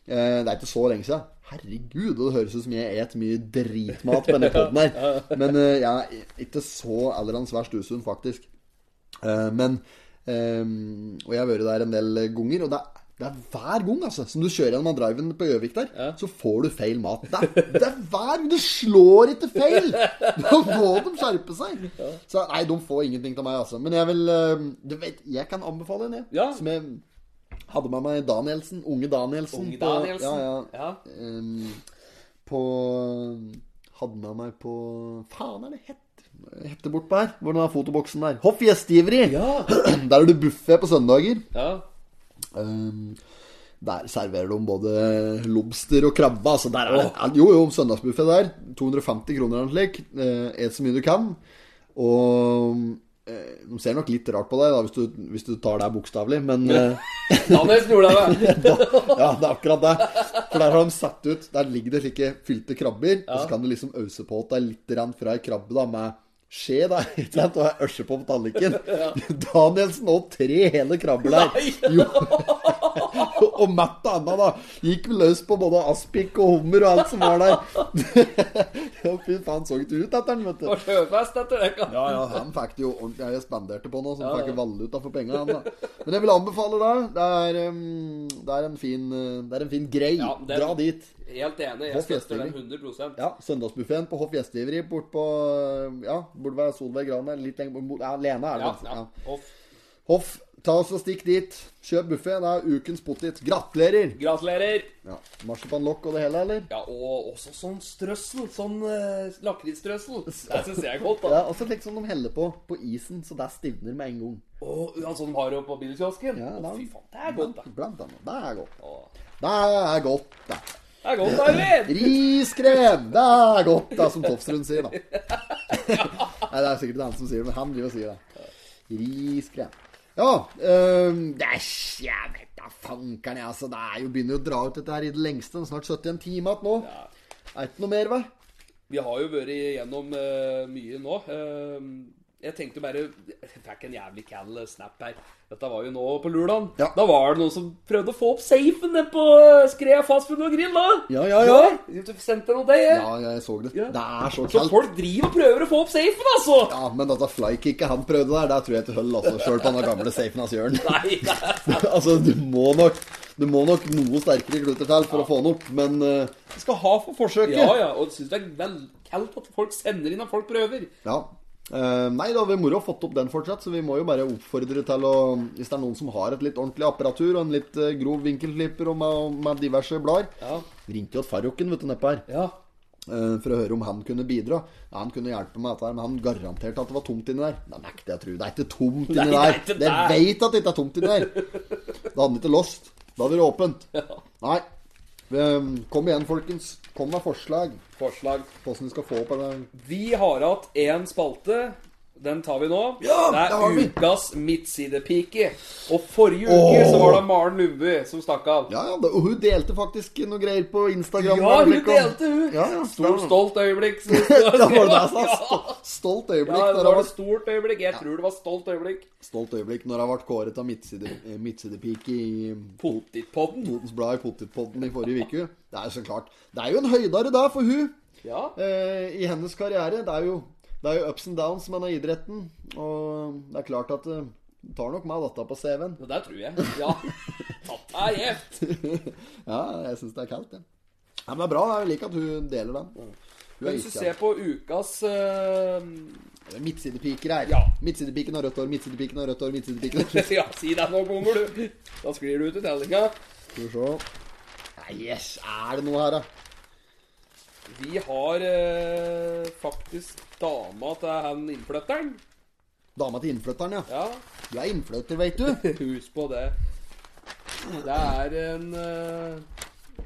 Eh, det er ikke så lenge siden. Herregud, det høres ut som jeg et mye dritmat på denne podden her. Men eh, jeg er ikke så allerens verst usunn, faktisk. Eh, men ehm, Og jeg har vært der en del ganger, og det er, det er hver gang altså, som du kjører gjennom driven på Gjøvik der, så får du feil mat. Det, er- det er hver gang! Det slår ikke feil! Da må de skjerpe seg. Så nei, de får ingenting av meg, altså. Men jeg vil ehm, Du vet, jeg kan anbefale en, jeg. Ja. Som jeg hadde med meg Danielsen. Unge Danielsen. Unge på- Danielsen. Ja, ja. Ja. Ehm, på Hadde med meg på Faen er det hett? Hette bortpå her. Hvor den er fotoboksen der. Hoff gjestgiveri! Der er det buffé på søndager. ja. Ehm, der serverer de både lobster og krabbe. Altså der er det, jo, jo, søndagsbuffé der. 250 kroner eller noe slik. Eh, Et så mye du kan. Og eh, de ser nok litt rart på deg da, hvis, du, hvis du tar det her bokstavelig, men eh, Danielsen gjorde det. ja, det er akkurat det. For der har de satt ut Der ligger det slike fylte krabber, og så kan du liksom ause på at det er litt rann fra ei krabbe da med skje, da, ikke sant, og jeg ørser på på tallerkenen. Danielsen åt tre hele krabber der. Jo. og Matt og Anna da gikk løs på både aspik og hummer og alt som var der. Ja, Fy faen, så ikke ut etter den, vet Og du. sjøfest etter det. kan- Ja, ja, han fikk det jo ordentlig. Jeg spanderte på noe, så han fikk ikke valuta for penga. han, da. Men jeg vil anbefale det. Det er, em, det er, en, fin, eh, det er en fin grei. Ja, det- Dra dit. Helt enig. Jeg Hva støtter fester den vi? 100 Ja, Søndagsbuffeen på Hoff Gjestgiveri bort på Ja, burde være Solveig Gran eller litt lenger bort. Ja, Lena er det. Ja, vel. ja. Ja. Off. Hoff, ta oss og stikk dit. Kjøp buffé. Det er ukens pottit. Gratulerer! Gratulerer. Ja, Marsipanlokk og det hele, eller? Ja, og også sånn strøssel. Sånn uh, lakrisstrøssel. Det syns jeg er godt, da. Ja, og så slik som de heller på på isen, så det stivner med en gang. Og ja, sånn har du på bilkiosken. Ja, Å, da- Fy faen, det er godt, da. Blant annet. Det er godt. Å, Det er godt, det. Det er godt, Arvid! Riskrem! Det er godt, det, som Tofsrud sier, da. Nei, det er sikkert han som sier det, men han driver og sier det. Riskrem. Ja øhm, Det er Jeg vet da fankeren, jeg, altså. Det er jo begynner jo å dra ut dette her i det lengste. Det er Snart 71 timer igjen nå. Ja. Er ikke noe mer, hva? Vi har jo vært igjennom eh, mye nå. Eh, jeg tenkte bare Jeg fikk en jævlig cal snap her. Dette var jo nå på lørdag. Ja. Da var det noen som prøvde å få opp safen nede på Skrea fastfood og grill, da. Ja, ja, ja. Du sendte noe det, jeg. Ja, jeg så det. Ja. Det er så Så kaldt. folk driver og prøver å få opp safen, altså! Ja, men dette flykicket han prøvde der, der tror jeg ikke holder, altså. Sjøl på den gamle safen hans Jørn. Nei, det er sant. altså, du må nok Du må nok noe sterkere kluter til for å få den opp, men eh, Vi skal ha for forsøket. Ja, ja, og syns det er vel kaldt at folk sender inn at folk prøver. Ja. Eh, nei, da vi moro fått opp den fortsatt, så vi må jo bare oppfordre til å Hvis det er noen som har et litt ordentlig apparatur og en litt eh, grov vinkelklipper og med, med diverse blader Ja. Ringte jo til Farroken, vet du, nedpå her, Ja. eh, for å høre om han kunne bidra. Ja, han kunne hjelpe meg med dette her, men han garanterte at det var tomt inni der. Nei, nekter jeg å tro. Det er ikke tomt inni der. Nei, det er ikke Det der. veit at det ikke er tomt inni der. Da hadde han ikke lost. Da hadde det vært åpent. Nei. Eh, Kom igjen, folkens. Kom med forslag på Forslag. hvordan vi skal få opp den. Vi har hatt én spalte. Den tar vi nå. Ja, det det har er vi. ukas midtsidepike. Og forrige uke så var det Maren Lundby som stakk av. Ja, ja, da- og hun delte faktisk noe greier på Instagram. Ja, hun Øyeblikk, og- delte, hun! Ja, ja, Stort, stemmer. stolt øyeblikk. som det Da står. var det det jeg sa. Ja. Sto- Stolt øyeblikk. Ja, når det jeg var et var- stort øyeblikk. Jeg tror det var stolt øyeblikk. Stolt øyeblikk når jeg ble kåret av midtside, eh, midtsidepike i Potetpodden. Potens Blad i Potetpodden i forrige uke. Det er jo så klart. Det er jo en høydare der for hun Ja. eh, i hennes karriere. Det er jo, det er jo ups and downs med denne idretten. Og det er klart at eh, hun tar nok meg dette på CV-en. Det der tror jeg. Ja. Tatt deg gjevt. Ja, jeg syns det er kaldt, jeg. Ja. men det er bra. Jeg liker at hun deler den. Hun er Hvis du iskald. ser på ukas eh, Det er Midtsidepiker her. Ja. Midtsidepiken har rødt hår, midtsidepiken har rødt hår, midtsidepiken har rødt hår. Ja, si det noen ganger, du. Da sklir du ut i tellinga. Skal vi se. Nei, yes, er det noe her, da? Vi har eh, faktisk dama til han innflytteren. Dama til innflytteren, ja. Ja, Du er innflytter, veit du. hus på det. Det er en eh,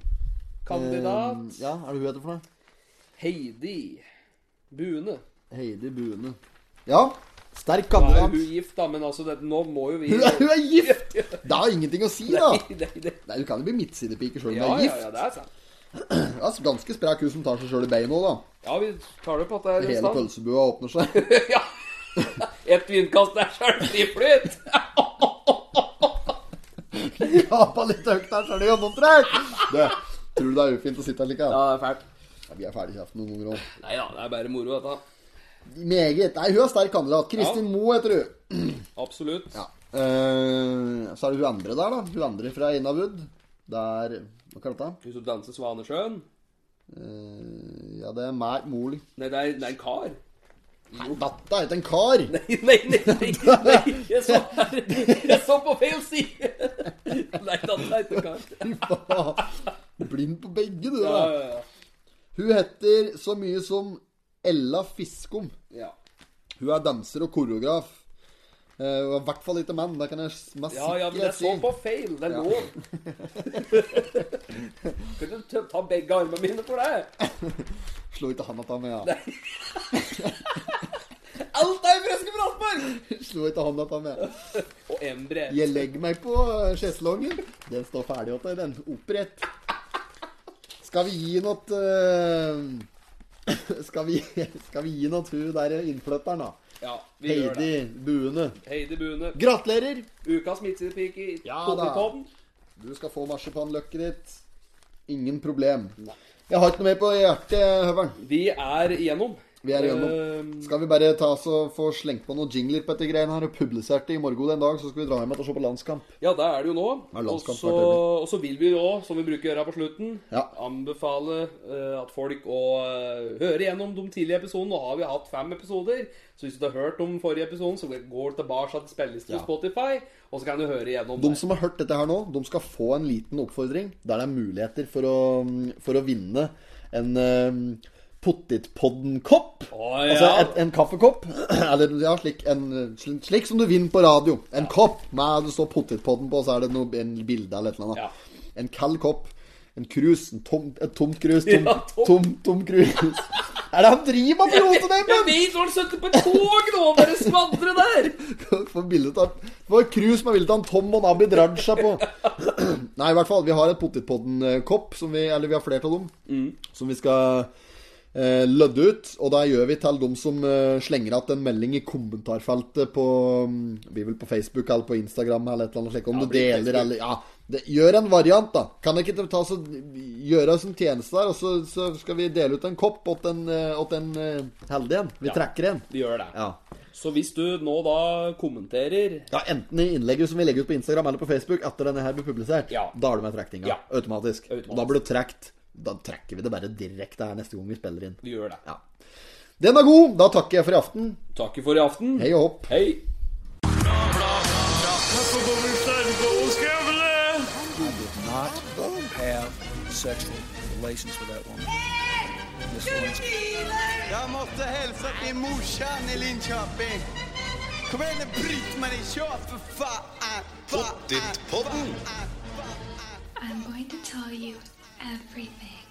kandidat. Eh, ja, er det hun heter for noe? Heidi Bune. Heidi Bune. Ja, sterk Da er kandidat. hun gift, da, men altså, det, nå må jo vi Hun er, hun er gift! Det har ingenting å si, da. Nei, nei, nei. Nei, Du kan jo bli midtsidepike sjøl om Ja, du er ja, gift. ja, det er sant. Altså, ganske sprek hun som tar seg sjøl i beina òg, da. Ja, vi tar det på at det er Hele sant. pølsebua åpner seg. Ja. Et vinkast der, så er det friflyt. Gapa litt høyt der, så er det gjennomtrekk. Du, tror du det er ufint å sitte her slik? Ja, Ja. det er fælt. Ja, vi er ferdig i kjeften noen ganger òg. Nei da, det er bare moro, dette. Meget. Nei, hun er sterk kandidat. Kristin Moe heter hun. Absolutt. Ja. Eh, så er det hun andre der, da. Hun andre fra Innawood. Det er Hva kaller det? Hun som danser Svanesjøen? Uh, ja, det er meg, mor Nei, det er, det er en kar. Nei, Dette er ikke en kar! Nei, nei, nei, nei, nei. Jeg, så, jeg så på feil side! Nei, da er ikke en kar. Fy faen. Blind på begge, du. da Ja, ja, ja. Hun heter så mye som Ella Fiskum. Ja. Hun er danser og koreograf. Eh, Hun er i hvert fall ikke mann. Det kan jeg s- med ja, ja, men jeg sikkerhet si. så på feil. Det er lov. Kan du tø- ta begge armene mine for det? Slo ikke han at han med, ja. Alt er i friske Brassberg! Slo ikke han at han med. Og Embre. Jeg legger meg på sjeslongen. Den står ferdig åt deg, den. Opprett. Skal vi gi noe eh, skal, vi, skal vi gi noe til hun der eh, innflytteren, da? Ja, vi gjør det. Heidi Buene. Heidi Bune. Gratulerer! Ukas midtsidepike i Ja, da. Potetodden. Du skal få marsipanløkket ditt. Ingen problem. Jeg har ikke noe mer på hjertet, Høveren. Vi er igjennom. Ehm, Vi er Eh, igjennom. Skal vi bare ta oss og få slengt på noen jingler på dette greiene her og publisert det i morgen en dag, så skal vi dra hjem igjen og se på landskamp. Ja, det er det jo nå. Ja, landskamp Og så- hvert øyeblikk. og så vil vi jo, som vi bruker å gjøre her på slutten, Ja. anbefale eh, at folk å eh, høre gjennom de tidlige episodene. Nå har vi hatt fem episoder, så hvis du har hørt om forrige episoden, så går du tilbake til spillelisten på Spotify, og så kan du høre gjennom De som har hørt dette her nå, de skal få en liten oppfordring der det er muligheter for å, for å vinne en um, Pottitpodden-kopp. Å, ja. Altså et, en kaffekopp. Eller ja, slik, en, slik, slik som du vinner på radio. En kopp med det står Pottitpodden på, og så er det noe, en bilde eller et eller Ja. annet. En kald kopp. En krus. En tom, et tomt krus. Tom, Ja, tom. tom. tom, krus. er det han driver med for noe til Jeg dem? vet hvor han sitter på et tog nå, bare skvadre der! Få bildet av Det var Krus med bildet av Tom og Nabid Raja på. Nei, i hvert fall. Vi har et Pottitpodden-kopp, som vi, eller vi har flere av dem, som vi skal eh, lødde ut. Og det gjør vi til dem som eh, slenger igjen en melding i kommentarfeltet på mm, Vi vil på Facebook eller på Instagram eller et eller annet slikt. Om du blir deler Facebook. eller Ja. Det, gjør en variant, da. Kan ikke dere ta så, gjøre oss en tjeneste der, og så, så skal vi dele ut en kopp åt en, eh, åt en eh, heldig en? Vi trekker en. Vi gjør det. Ja. Så hvis du nå da kommenterer Ja, Enten i innlegget som vi legger ut på Instagram eller på Facebook etter denne her blir publisert. Ja. Da er du med i trekninga. Ja. Automatisk. Automatisk. Og da blir det trekt. Da trekker vi det bare direkte her neste gang vi spiller inn. Vi gjør det. Ja. Den er god! Da takker jeg for i aften. Takk for i aften. Hei og hopp. Hei. not have sexual relations with that woman. Miss Lewinsky. Jag måste hälsa till morsan i Linköping. Kom igen nu Britt-Marie, kör för fan! Pottitpodden! I'm going to tell you everything.